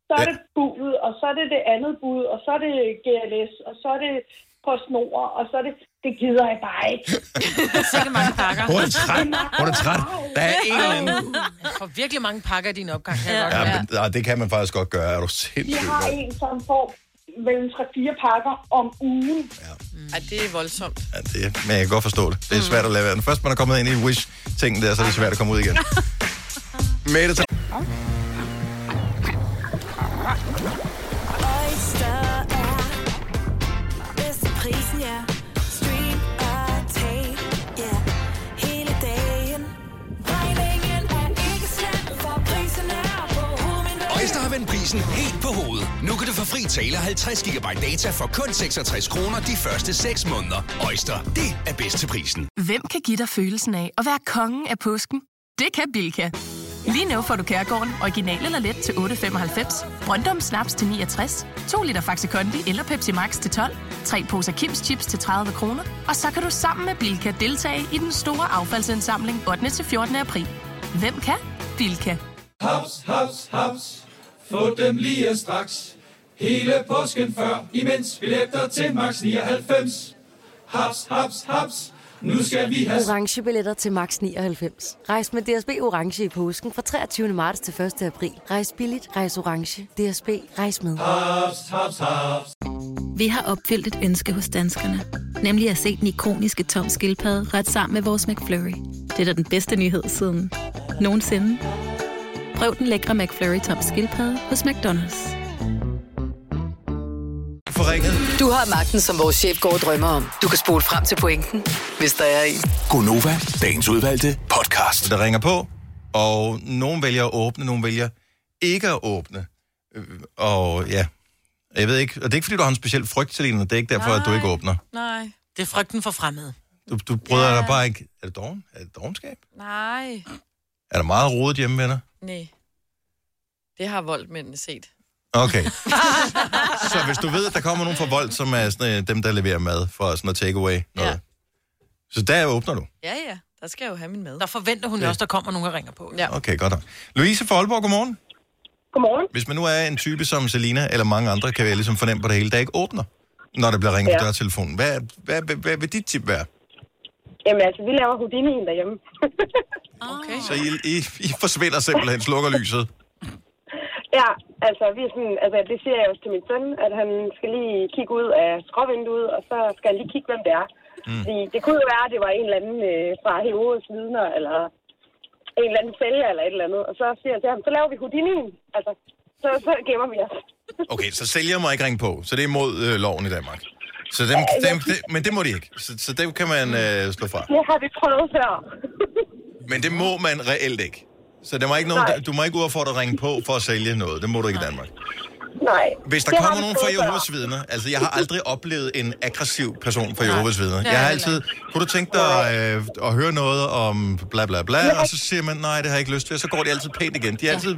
M: Så er det budet, og så er det det andet bud, og så er det GLS, og så er det på snor, og så er det... Det gider jeg bare
A: [laughs]
M: ikke.
E: Sikke mange pakker.
A: Hun er træt. Hun er træt. Der er en eller anden...
E: Jeg får virkelig mange pakker i din opgang. Kan jeg godt
A: Ja,
E: mærke.
A: men, nej, det kan man faktisk godt gøre. Er du
M: Vi
A: sindssyg?
M: har en, som får mellem 3-4 pakker om ugen. Ja.
D: Ej, det er voldsomt.
A: Ja, det, men jeg kan godt forstå det. Det er svært at lade være. Når Først man er kommet ind i Wish-tingen der, så er det svært at komme ud igen. Mette, tak.
F: Oyster er bedst til prisen, ja. Stream og tag, ja. Hele dagen. Regningen er ikke slem, for prisen er på hovedet.
T: Øjster har vendt prisen helt på hovedet. Nu kan du få fri tale 50 GB data for kun 66 kroner de første 6 måneder. Øjster, det er bedst til prisen.
U: Hvem kan give dig følelsen af at være kongen af påsken? Det kan Bilka! Lige nu får du Kærgården original eller let til 8.95, Brøndum Snaps til 69, 2 liter Faxi Kondi eller Pepsi Max til 12, 3 poser Kims Chips til 30 kroner, og så kan du sammen med Bilka deltage i den store affaldsindsamling 8. til 14. april. Hvem kan? Bilka.
P: Haps, haps, haps. Få dem lige straks. Hele påsken før, imens billetter til max 99. Haps, haps, haps. Nu skal vi have...
Q: Orange billetter til max 99. Rejs med DSB Orange i påsken fra 23. marts til 1. april. Rejs billigt, rejs orange. DSB, rejs med.
P: Ah, Haps, haps, haps.
R: Vi har opfyldt et ønske hos danskerne. Nemlig at se den ikoniske tom skildpadde ret sammen med vores McFlurry. Det er da den bedste nyhed siden nogensinde. Prøv den lækre McFlurry tom skildpadde hos McDonald's.
O: Du har magten, som vores chef går og drømmer om. Du kan spole frem til pointen, hvis der er en.
A: Gonova, dagens udvalgte podcast. Der ringer på, og nogen vælger at åbne, nogen vælger ikke at åbne. Øh, Og ja, jeg ved ikke, og det er ikke, fordi du har en speciel frygt, Selina, det er ikke derfor, at du ikke åbner.
D: Nej.
E: Det er frygten for fremmede.
A: Du, du bryder dig bare ikke. Er det doven? Er det dovenskab?
D: [laughs] Nej.
A: Er der meget rodet hjemme med dig?
D: Nej. Det har voldmændene
A: [laughs]
D: set.
A: Okay. Så hvis du ved, at der kommer nogen fra Volt, som er sådan, øh, dem, der leverer mad fra sådan noget takeaway. Ja. Så der åbner du.
D: Ja, ja. Der skal jeg jo have min mad.
E: Der forventer hun
A: Ja.
E: ja. også, der kommer nogen og ringer på.
D: Ja.
A: Okay, godt nok. Louise fra Aalborg, godmorgen.
M: Godmorgen.
A: Hvis man nu er en type som Selina eller mange andre, kan jeg ligesom fornemme på det hele, der ikke åbner, når der bliver ringet ja. på
M: Ja.
A: dørtelefonen. Hvad, hvad, hvad, hvad vil dit tip være?
M: Jamen altså, vi laver Houdini'en derhjemme.
D: Okay.
A: Så I, I, I forsvinder simpelthen, slukker lyset.
M: Ja, altså, vi er sådan, altså, det siger jeg også til min søn, at han skal lige kigge ud af skråvinduet, og så skal han lige kigge, hvem det er. Mm. Fordi det kunne jo være, at det var en eller anden øh, fra Herodes vidner, eller en eller anden sælger, eller et eller andet. Og så siger jeg til ham, så laver vi Houdini'en. Altså, så, så gemmer vi os.
A: Okay, så sælger må ikke ringe på, så det er imod øh, loven i Danmark. Så dem, dem, de, men det må de ikke. Så, så dem kan man øh, slå fra.
M: Det har vi prøvet før.
A: Men det må man reelt ikke. Så der må ikke nogen, du må ikke uaffordret ringe på for at sælge noget. Det må du ikke i Danmark.
L: Nej.
A: Hvis der
L: Det har
A: kommer
L: vi
A: nogen
L: fået
A: fra
L: før.
A: Jehovas vidner, altså jeg har aldrig oplevet en aggressiv person fra Jehovas vidner.
L: Nej,
A: Jeg har
L: nej,
A: altid, kunne du tænke dig øh, at høre noget om bla bla bla, og så siger man, nej, det har jeg ikke lyst til, og så går de altid pænt igen. De er altid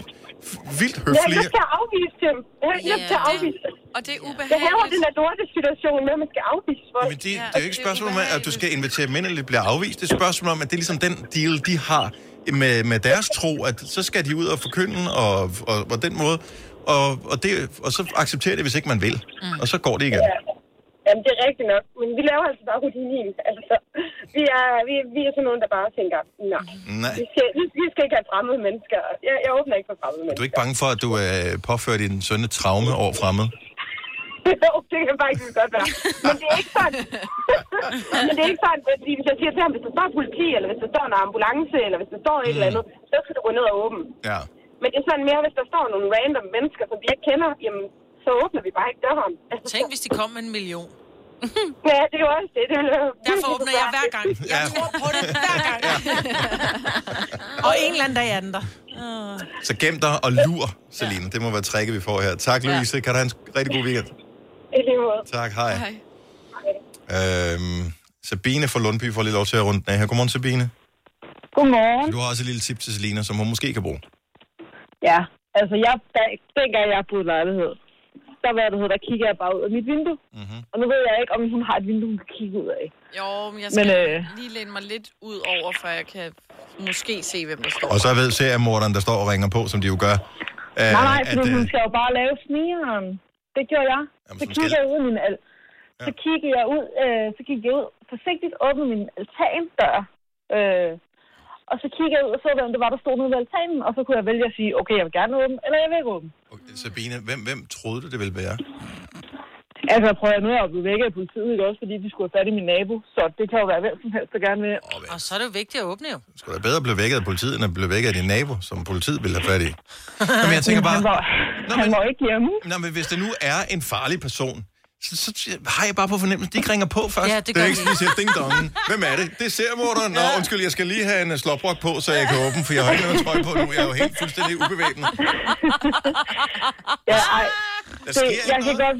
A: f- vildt
L: Jeg har
A: høflige.
L: lyst til at afvise dem. Jeg har lyst til at afvise dem.
D: Og det er ubehageligt.
L: Jeg haver den der lortesituation med, at man skal afvise folk.
A: Men det, det er jo ikke et spørgsmål om, at du skal invitere dem ind, eller de bliver afvist. Det er et spørgsmål om, at det er ligesom den deal, de har med, med deres tro, at så skal de ud og forkynde, og, og, og den måde. Og, og, det, og så accepterer det, hvis ikke man vil. Og så går det igen.
L: Jamen, det er rigtigt nok. Men vi laver altså bare rutinen. Altså, vi er, vi, vi er sådan nogen, der bare tænker, nej.
A: Nej.
L: Vi skal, vi- vi skal ikke have fremmede mennesker. Jeg, jeg åbner ikke for fremmede
A: Du er
M: [laughs]
L: mennesker.
A: ikke bange for, at du er påført din søn et traume over fremmed?
L: jo, det kan faktisk godt være. Men det er ikke sådan. men det er ikke sådan, fordi hvis jeg siger til ham, hvis der står politi, eller hvis der står en ambulance, eller hvis der står et
A: Mm.
L: eller andet, så skal du gå ned og åbne.
A: Ja.
L: Men det er sådan mere, hvis der står nogle random mennesker, som vi ikke kender, jamen, så åbner vi bare ikke døren. Altså,
C: Tænk, hvis de kom med en million.
L: [laughs] ja, det er jo også det. det ville være
C: Derfor åbner jeg hver gang. Jeg tror på det hver gang. Og en eller anden dag er den der.
A: Så gem dig og lur, Selina. Det må være tricket, vi får her. Tak, Louise. Kan du have en rigtig god weekend?
L: I lige måde.
A: Tak, hej. Øhm, Sabine fra Lundby får lige lov til at runde den af her. Godmorgen, Sabine.
M: Godmorgen.
A: Du har også et lille tip til Selina, som hun måske kan bruge.
M: Ja, altså jeg, da, dengang jeg boede i lejlighed, der, hvad det hedder, der kigger jeg bare ud af mit vindue.
A: Mhm.
M: Mm-hmm. Og nu ved jeg ikke, om hun har et vindue, hun kan kigge ud af.
D: Jo, men jeg skal
M: Men,
D: men,
M: øh,
D: øh... lige læne mig lidt ud over, før jeg kan måske se, hvem der står.
A: Og så ved seriemorderen, der står og ringer på, som de jo gør.
M: Øh,
A: øh,
M: nej, nej,
A: at,
M: for hun
A: øh,
M: skal jo bare lave snigeren. Det gjorde jeg. så
A: hun
M: kiggede jeg ud af min al- så kiggede jeg ud, øh, så gik jeg ud forsigtigt åbnede min altandør. Øh, og så kiggede jeg ud og så, hvem det var, der stod nede ved altanen, og så kunne jeg vælge at sige, okay, jeg vil gerne åbne, eller jeg vil ikke åbne.
A: Sabine, hvem, hvem troede du, det ville være?
M: Altså, prøv at høre, nu er jeg jo blevet vækket af politiet, ikke også, fordi de skulle have fat i min nabo, så det kan jo være hvem som helst, der gerne vil.
C: Og så er det jo vigtigt at åbne jo.
A: Skulle da bedre at blive vækket af politiet, end at blive vækket af din nabo, som politiet ville have fat i? Nå, men jeg tænker bare... Han var, nå, men, han var
M: ikke hjemme.
A: Nå, men hvis det nu er en farlig person, så, så har jeg bare på fornemmelsen, de ikke ringer på først.
C: Ja, det gør
A: er ikke
C: de.
A: sådan, de siger, ding dong. Hvem er det? Det er seriemorderen. Nå, undskyld, jeg skal lige have en øh, slåbrok på, så jeg kan åbne, for jeg har ikke noget tøj på nu. Jeg er jo helt fuldstændig
D: [laughs]
A: ubevæbnet.
M: Ja, ej. Det,
A: Der sker ikke
M: jeg kan godt...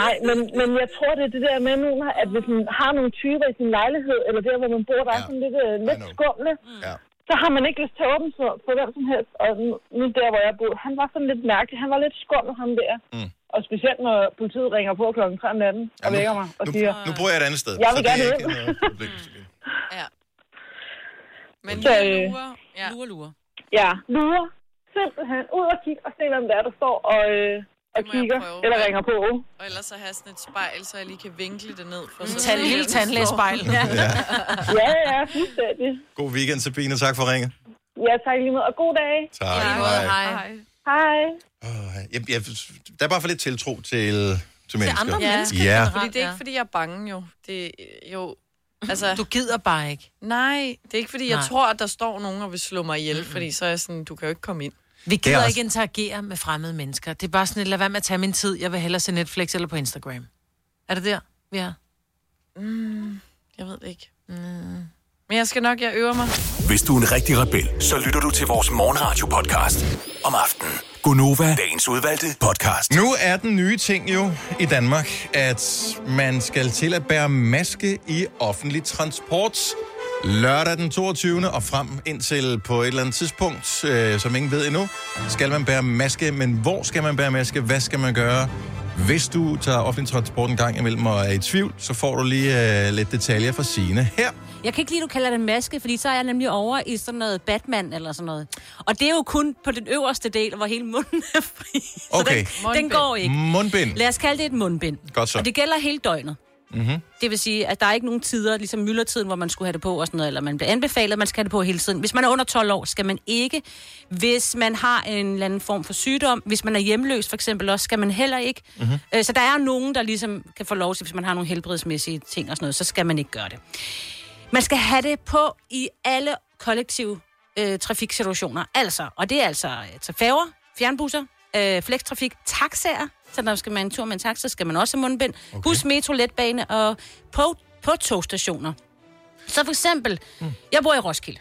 M: Nej, men, men jeg tror, det er det der med nu, at hvis man har nogle typer i sin lejlighed, eller der, hvor man bor, der er sådan lidt, øh, lidt skumle, så har man ikke lyst til at åbne for, for hvem som helst. Og nu, nu der, hvor jeg bor, han var sådan lidt mærkelig. Han var lidt skummel, ham der.
A: Mm.
M: Og specielt, når politiet ringer på klokken 3 om natten og vækker mig og
A: nu,
M: siger...
A: nu bor jeg et andet sted.
M: Jeg
A: så
M: vil
A: det
M: gerne
A: er
M: hjem.
A: ikke noget problem.
D: Men
M: Så,
D: lure,
M: øh,
D: lure. Ja. Lure, lure.
M: Ja, lurer. Simpelthen ud og kigge og se, hvem der er, der står og, øh, og kigger eller ringer på.
D: Og ellers så have sådan et spejl, så jeg lige kan vinkle det ned. For så
C: Tag et lille tandlægespejl.
D: [laughs] Ja.
M: Ja, ja, fuldstændig.
A: God weekend, Sabine. Tak for ringet.
M: Ja, tak lige måde, og god dag.
A: Tak. Ja, lige måde. Hej.
M: Hej.
A: Jeg, jeg, der er bare for lidt tiltro til, til mennesker.
D: andre mennesker.
A: Ja.
D: Fordi det er ikke, fordi jeg er bange jo. Det er jo... Altså, du gider bare ikke. Nej, det er ikke, fordi jeg
C: Nej.
D: tror, at der står nogen og vil slå mig ihjel, fordi så er jeg sådan, du kan jo ikke komme ind.
C: Vi gider også... ikke interagere med fremmede mennesker. Det er bare sådan, et, lad være med at tage min tid. Jeg vil hellere se Netflix eller på Instagram. Er det der, vi er?
D: Mm, jeg ved det ikke. Mm. Men jeg skal nok, jeg øver mig.
I: Hvis du er en rigtig rebel, så lytter du til vores morgenradio-podcast om aftenen. Gunova, dagens udvalgte podcast.
A: Nu er den nye ting jo i Danmark, at man skal til at bære maske i offentlig transport lørdag den 22. og frem indtil på et eller andet tidspunkt, øh, som ingen ved endnu, skal man bære maske. Men hvor skal man bære maske? Hvad skal man gøre? Hvis du tager offentlig transport en gang imellem og er i tvivl, så får du lige øh, lidt detaljer fra sine her.
B: Jeg kan ikke lide, at du kalder det maske, fordi så er jeg nemlig over i sådan noget Batman eller sådan noget. Og det er jo kun på den øverste del, hvor hele munden er fri. Så
A: Okay.
B: den, [laughs] den går ikke.
A: Mundbind.
B: Lad os kalde det et mundbind.
A: Godt så.
B: Og det gælder hele døgnet.
A: Mm-hmm.
B: Det vil sige, at der er ikke nogen tider, ligesom myldretiden, hvor man skulle have det på og sådan noget, eller man bliver anbefalet, at man skal have det på hele tiden. Hvis man er under 12 år, skal man ikke. Hvis man har en eller anden form for sygdom, hvis man er hjemløs for eksempel også, skal man heller ikke.
V: Mhm.
B: Øh, Så der er nogen, der ligesom kan få lov til, hvis man har nogle helbredsmæssige ting og sådan noget, så skal man ikke gøre det. Man skal have det på i alle kollektive øh, trafiksituationer. Altså, og det er altså øh, til færger, fjernbusser, øh, flekstrafik, taxaer. Så når man skal man en tur med en taxa, skal man også have mundbind. Okay. Bus, metro, letbane og på, på togstationer. Så for eksempel, mm. jeg bor i Roskilde.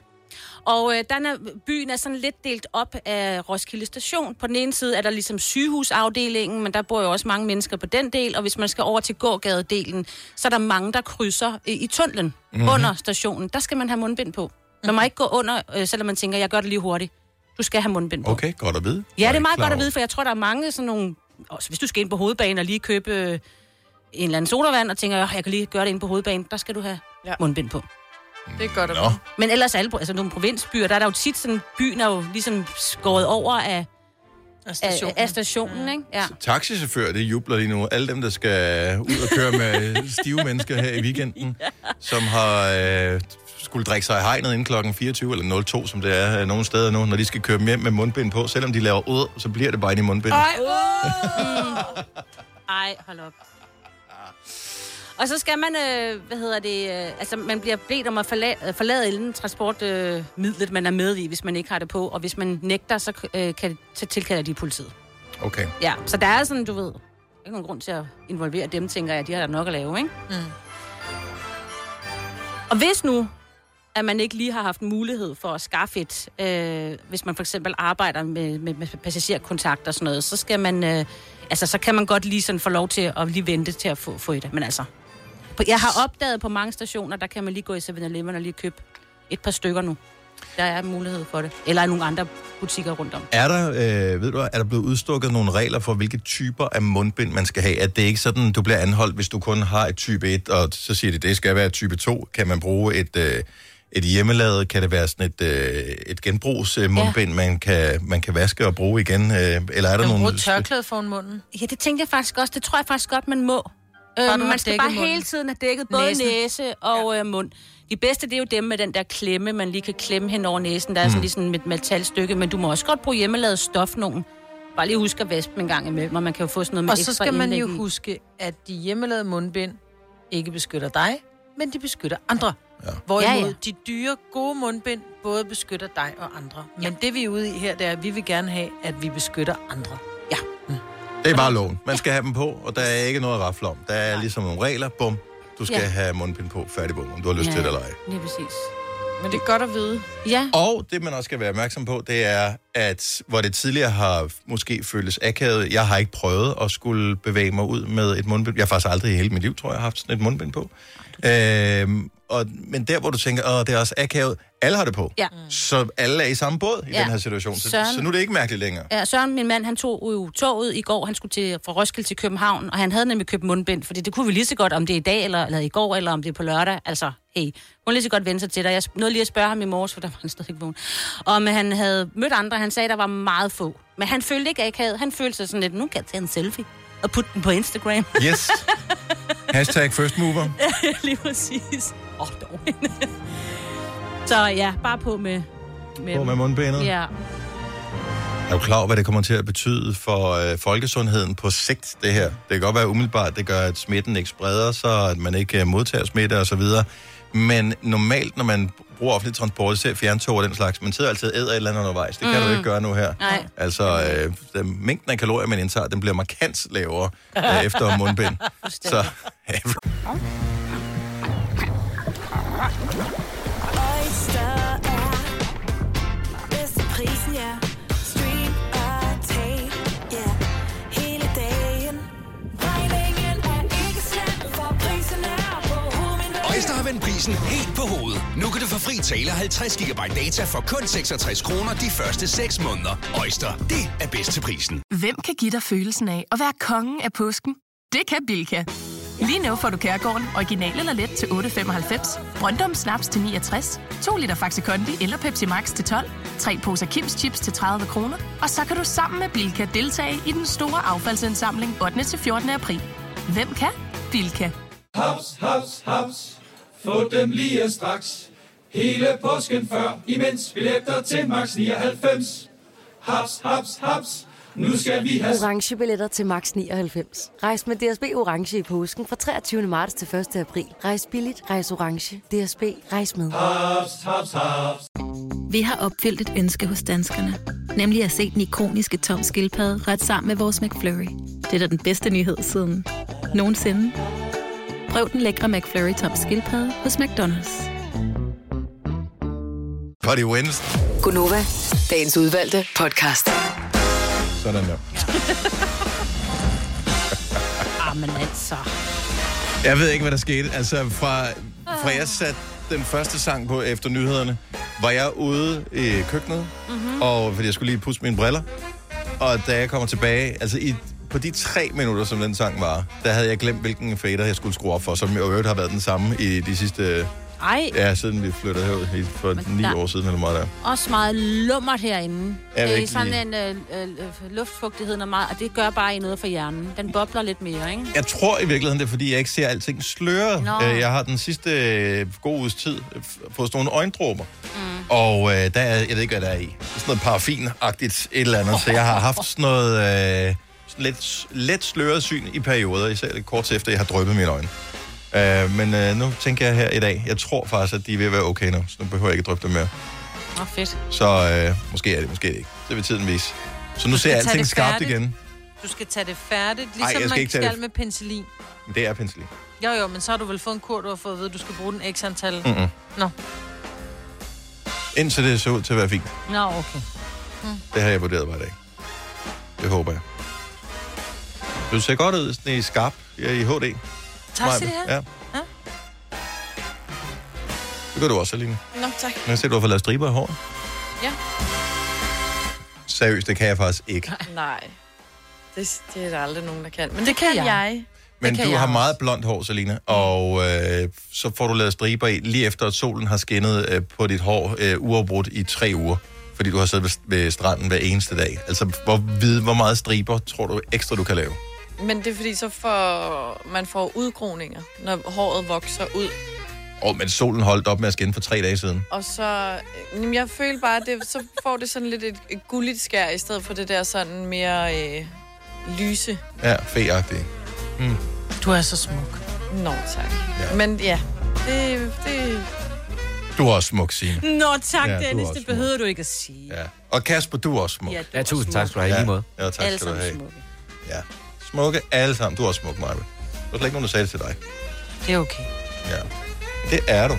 B: Og øh, den er, byen er sådan lidt delt op af Roskilde Station. På den ene side er der ligesom sygehusafdelingen, men der bor jo også mange mennesker på den del. Og hvis man skal over til gågadedelen, så er der mange, der krydser øh, i tunnelen
J: Mhm.
B: mm-hmm. under stationen. Der skal man have mundbind på. Man må ikke gå under, øh, selvom man tænker, jeg gør det lige hurtigt. Du skal have mundbind på.
A: Okay, godt at vide.
B: Ja,
A: Var
B: det er
A: ikke
B: meget
A: klar
B: godt at
A: over.
B: vide, for jeg tror, der er mange sådan nogle... Også hvis du skal ind på hovedbanen og lige købe øh, en eller anden sodavand, og tænker, "Åh, jeg kan lige gøre det ind på hovedbanen, der skal du have
D: Ja.
B: mundbind på.
D: Det er godt at
B: Nå.
D: vide.
B: Men ellers alle, altså nogle provinsbyer, der er der jo tit sådan, byen er jo ligesom skåret over af, af
E: stationen.
B: Af, af
D: Mm.
B: stationen ikke? Ja.
A: Taxichauffører, det jubler lige nu. Alle dem, der skal ud og køre med stive mennesker her i weekenden, som har øh, skulle drikke sig i hegnet inden klokken 24 eller 02, som det er øh, nogle steder nu, når de skal køre dem hjem med mundbind på. Selvom de laver ud, så bliver det bare inde i mundbind.
B: Ej, uh! Ej, hold op. Og så skal man, øh, hvad hedder det, øh, altså man bliver bedt om at forlade, forlade inden transportmidlet, øh, midlet, man er med i, hvis man ikke har det på. Og hvis man nægter, så, øh, kan, så tilkalder de politiet.
A: Okay.
B: Ja, så der er sådan, du ved, ikke nogen grund til at involvere dem, tænker jeg. De har da nok at lave, ikke? Mm. Og hvis nu, at man ikke lige har haft mulighed for at skaffe et, øh, hvis man for eksempel arbejder med, med, med passagerkontakt og sådan noget, så skal man, øh, altså så kan man godt lige sådan få lov til at lige vente til at få, få et. Men altså, på, jeg har opdaget på mange stationer, der kan man lige gå i 7-Eleven og lige købe et par stykker nu. Der er mulighed for det. Eller i nogle andre butikker rundt om.
A: Er der, øh, ved du, hvad, er der blevet udstukket nogle regler for, hvilke typer af mundbind man skal have? At det ikke sådan, du bliver anholdt, hvis du kun har et type 1, og så siger de, det skal være type 2. Kan man bruge et, øh, et hjemmelavet? Kan det være sådan et, øh, et genbrugs øh, mundbind, ja. man, kan, man kan vaske og bruge igen? Øh, eller er der
C: Kan man bruge
A: nogle...
C: et tørklæde foran munden?
B: Ja, det tænkte jeg faktisk også. Det tror jeg faktisk godt, man må.
C: Bare
B: Øh,
C: du har
B: man skal
C: dækket
B: bare
C: munden.
B: hele tiden have dækket både
C: Næsen.
B: næsen. næse og ja. øh, mund. De bedste, det er jo dem med den der klemme, man lige kan klemme hen over næsen. Der er
A: Mm.
B: sådan lige sådan et metalstykke, men du må også godt bruge hjemmelavet stof nogen. Bare lige husk at vaspe dem en gang imellem, og man kan jo få sådan noget med
C: Og så
B: ekstra
C: skal man jo
B: indlæg i.
C: huske, at de hjemmelavede mundbind ikke beskytter dig, men de beskytter andre. Ja. Hvorimod ja,
B: Ja,
C: ja.
B: ja.
C: de dyre, gode mundbind både beskytter dig og andre. Men det vi er ude i her, det er, at vi vil gerne have, at vi beskytter andre.
A: Det er bare loven. Man skal have dem på, og der er ikke noget at rafle om. Der er ligesom nogle regler. Bum. Du skal ja.
D: Ja.
A: have mundbind på. Færdig bum, om du har lyst ja.
D: Ja.
A: til det eller ej.
B: Lige præcis.
D: Men det er godt at vide.
B: Ja.
A: Og det, man også skal være opmærksom på, det er, at hvor det tidligere har måske føltes akavet, jeg har ikke prøvet at skulle bevæge mig ud med et mundbind. Jeg har faktisk aldrig i hele mit liv, tror jeg, haft sådan et mundbind på. Øhm, og, men der, hvor du tænker, at det er også akavet, alle har det på.
C: Mm.
B: Ja.
A: Så alle er i samme båd i
B: Ja.
A: den her situation. Så,
B: Søren.
A: så nu er det ikke mærkeligt længere.
B: Ja, Søren, min mand, han tog jo toget i går. Han skulle til, fra Roskilde til København, og han havde nemlig købt mundbind, fordi det kunne vi lige så godt, om det er i dag, eller, eller i går, eller om det er på lørdag. Altså, hey, hun lige så godt vende sig til dig. Jeg nåede lige at spørge ham i morges, for der var han stadig ikke vågen. Om han havde mødt andre, han sagde, der var meget få. Men han følte ikke akavet. Han følte sig sådan lidt, nu kan jeg tage en selfie og putte den på Instagram. [laughs]
A: Yes. Hashtag first mover.
B: lige præcis. Åh, oh, dog. [laughs] Så ja, bare på med...
A: På med mundbindet.
B: Ja.
A: Er du klar over, hvad det kommer til at betyde for øh, folkesundheden på sigt, det her? Det kan godt være umiddelbart, det gør, at smitten ikke spreder sig, at man ikke øh, modtager smitte osv. Men normalt, når man bruger offentlig transport, især fjerntog og den slags, man sidder altid og æder et eller andet undervejs. Det kan mm. du
B: Mm.
A: ikke gøre nu her.
B: Nej.
A: Altså, øh, den, mængden af kalorier, man indtager, den bliver markant lavere
E: [laughs]
A: øh, efter mundbind. Så, [laughs]
F: Oyster er bedst til prisen, ja. Stream og tag, ja. Hele dagen. Regningen er ikke slem, for prisen er på hovedet.
T: Øjster har vendt prisen helt på hovedet. Nu kan du få fri tale 50 GB data for kun 66 kroner de første 6 måneder. Øjster, det er bedst til prisen.
U: Hvem kan give dig følelsen af at være kongen af påsken? Det kan Bilka. Lige nu får du Kærgården original eller let til 8.95, Brøndum Snaps til 69, 2 liter Faxi Kondi eller Pepsi Max til 12, 3 poser Kims Chips til 30 kroner, og så kan du sammen med Bilka deltage i den store affaldsindsamling 8. til 14. april. Hvem kan? Bilka.
P: Haps, haps, haps. Få dem lige straks. Hele påsken før, imens billetter til max 99. Haps, haps, haps. Nu skal vi have
Q: Orange billetter til max 99. Rejs med DSB Orange i påsken fra 23. marts til 1. april. Rejs billigt, rejs orange. DSB, rejs
P: Ah,
Q: med.
P: haps, haps, haps.
R: Vi har opfyldt et ønske hos danskerne. Nemlig at se den ikoniske tom skildpadde ret sammen med vores McFlurry. Det er da den bedste nyhed siden nogensinde. Prøv den lækre McFlurry tom skildpadde hos McDonald's.
A: Buddy Wins.
O: Gunova, dagens udvalgte podcast.
A: Sådan der.
B: Ah, men altså.
A: Jeg ved ikke, hvad der skete. Altså, fra, fra jeg satte den første sang på efter nyhederne, var jeg ude i køkkenet,
B: Mhm.
A: mm-hmm. og fordi jeg skulle lige pusse mine briller. Og da jeg kommer tilbage, altså i, på de tre minutter, som den sang var, der havde jeg glemt, hvilken fader jeg skulle skrue op for, som i øvrigt har været den samme i de sidste...
B: Ej.
A: Ja, siden vi flyttede herud i- for
B: Men
A: ni
B: der-
A: år siden eller meget der.
B: Også meget lummert herinde.
A: Jeg vil
B: Det er
A: ikke
B: sådan
A: lide-
B: en øh, øh, øh, luftfugtigheden er meget, og det gør bare noget for hjernen. Den bobler lidt mere, ikke?
A: Jeg tror i virkeligheden, det er, fordi jeg ikke ser alting sløre.
B: Nå.
A: Øh, Jeg har den sidste øh, gode uges tid øh, f- fået sådan nogle øjendråber. Mm. Og øh, der er, jeg ved ikke, hvad der er i. Sådan noget paraffin-agtigt et eller andet. Så jeg
C: [laughs]
A: har haft sådan noget øh, sådan lidt, let sløret syn i perioder, især lidt kort tid efter, jeg har drøbet mine øjne. Øh, men øh, nu tænker jeg her i dag, jeg tror faktisk, at de er ved at være okay nu, så nu behøver jeg ikke at drøbe dem mere.
B: Åh, oh, fedt.
A: Så øh, måske er det, måske er det ikke. Det vil tiden vise. Så nu ser
C: skal tage
A: jeg alting
C: det
A: skarpt
C: færdigt.
A: igen.
C: Du skal tage det færdigt,
A: Ej,
C: ligesom
A: jeg skal
C: man
A: ikke
C: skal,
A: tage det
C: skal med penicillin.
A: Men Det er penselin.
C: Jo, jo, men så har du vel fået en kur, du har fået at vide, at du skal bruge den x antal.
A: Mm-mm.
C: Nå.
A: Indtil det ser ud til at være fint.
C: Nå, okay.
A: Det har jeg vurderet bare i dag. Det håber jeg. Du ser godt ud sådan i skarp ja, i HD.
D: Tak skal du
A: Maja.
D: have.
A: Ja.
D: Ja.
A: Det gør du også, Aline.
D: Nå, tak.
A: Men jeg ser, du har fået lavet striber i håret.
D: Ja.
A: Seriøst, det kan jeg faktisk ikke.
D: Nej. Det, det er der aldrig nogen, der kan. Men det, kan jeg. jeg.
A: Men
D: det kan
A: du
D: jeg
A: har
D: også.
A: meget blondt hår, Selina, og øh, så får du lavet striber i, lige efter at solen har skinnet øh, på dit hår øh, uafbrudt i tre uger, fordi du har siddet ved, ved stranden hver eneste dag. Altså, hvor, vid, hvor meget striber tror du ekstra, du kan lave?
D: Men det er fordi, så får man får udgroninger, når håret vokser ud.
A: Og men solen holdt op med at skinne for tre dage siden.
D: Og så, jamen, jeg føler bare, at det, så får det sådan lidt et, et gulligt skær, i stedet for det der sådan mere øh, lyse.
A: Ja, feagtig. Mm.
C: Du er så smuk.
D: Nå, tak. Ja. Men ja, det, det...
A: Du er også smuk, Signe.
B: Nå, tak,
A: Ja,
B: ja,
A: du
B: Dennis.
A: er også
B: Det behøver du ikke at sige.
A: Ja. Og Kasper, du er også smuk.
B: Ja, du
J: Ja, tusind tak skal du have, i
A: Ja,
J: lige måde.
A: Ja, tak
B: Alle
A: skal du
B: sammen
A: have.
B: smukke.
A: Ja. Smukke alle sammen. Du er også smuk, Maja. Der var slet ikke nogen, der sagde det til dig.
C: Det er okay.
A: Ja. Det er du.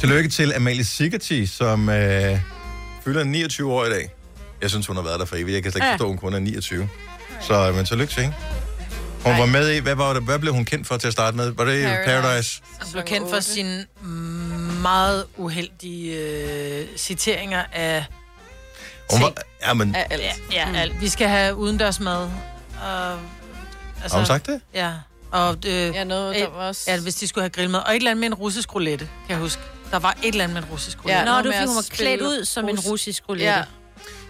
A: Tillykke til Amalie Sigerti, som øh, fylder 29 år i dag. Jeg synes, hun har været der for evigt. Jeg kan slet ikke
W: Ja.
A: forstå, at hun kun er 29. Så øh, men tillykke til hende. Hun var med i, hvad, var det, hvad blev hun kendt for til at starte med? Var det Paradise? Paradise?
C: Han blev kendt for sine meget uheldige øh, citeringer af...
A: Hun var, ja, men,
C: af alt. Ja, ja alt. Vi skal have udendørsmad. Og, altså-
A: Har hun sagt det?
C: Ja. Og, øh, ja,
D: noget, der var også...
C: Ja, hvis de skulle have grillmad. Og et eller andet med en russisk roulette, kan jeg huske. Der var et eller andet med en russisk roulette.
B: Ja, Nå, noget du med fik, at hun var spille klædt ud som en rus- russisk roulette.
D: Ja.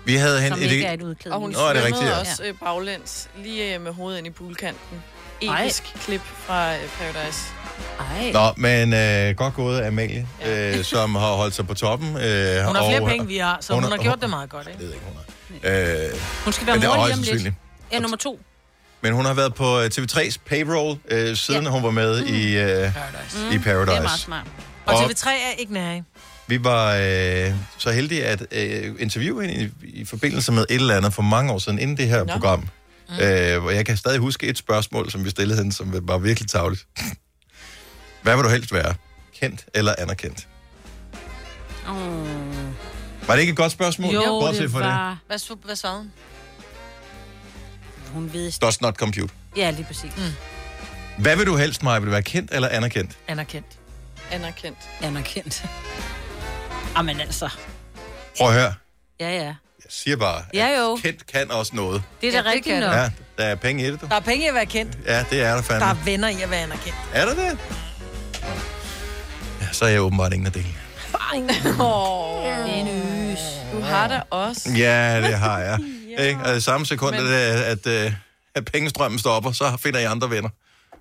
A: vi havde hende
D: Som
A: i
D: ikke
A: det.
D: er et Og hun
A: Nå, er det
D: svømmede
A: rigtigt, ja.
D: også øh, baglæns, lige øh, med hovedet ind i poolkanten.
B: Ej.
D: Episk klip fra øh, Paradise.
B: Ej.
A: Nå, men øh, godt gået af Amalie, øh, som har holdt sig på toppen. Øh, hun
C: Hun har flere penge, vi har, så hun, hun har gjort det meget godt, ikke?
A: Øh,
B: Hun skal
A: men
B: være
A: det er
B: mor
A: højst
B: lige om lidt.
A: sandsynligt.
B: Ja, nummer to.
A: Men hun har været på øh, TV3's payroll, øh, siden hun var med i,
B: Mm.
A: øh, i Paradise.
C: Det er meget smart. Og TV3 er ikke nær.
A: Vi var øh, så heldige at øh, interviewe hende i, i forbindelse med et eller andet for mange år siden, inden det her
C: Nå.
A: program. Mm. Øh, hvor jeg kan stadig huske et spørgsmål, som vi stillede hende, som var virkelig tavligt. [laughs] Hvad vil du helst være? Kendt eller anerkendt?
B: Oh.
A: Var det ikke et godt spørgsmål? Bortset fra
C: Hvad, sv- hvad svarede hun?
B: Hun ved...
A: Does not compute.
B: Ja, lige præcis. Mm.
A: Hvad vil du helst, Maja? Vil du være kendt eller anerkendt?
C: Anerkendt.
D: Anerkendt.
B: Anerkendt.
E: Ah,
B: Jamen altså.
A: Prøv at høre.
B: Ja, ja.
A: Jeg siger bare, at
B: Ja, jo.
A: kendt kan også noget.
B: Det er da
C: Ja, det
B: rigtigt
C: kan
B: nok.
A: Ja, der er penge i det, du.
C: Der er penge i at være kendt.
A: Ja, det er der
C: Der
A: fandme.
C: er venner i at være anerkendt.
A: Er der det? Ja, så er jeg åbenbart ingen af delene.
C: [laughs]
D: Oh. Dennis. Du har da også.
A: Ja, det har jeg. Ikke? Og i samme sekund, Men... at, at, øh, at pengestrømmen stopper, så finder jeg andre venner.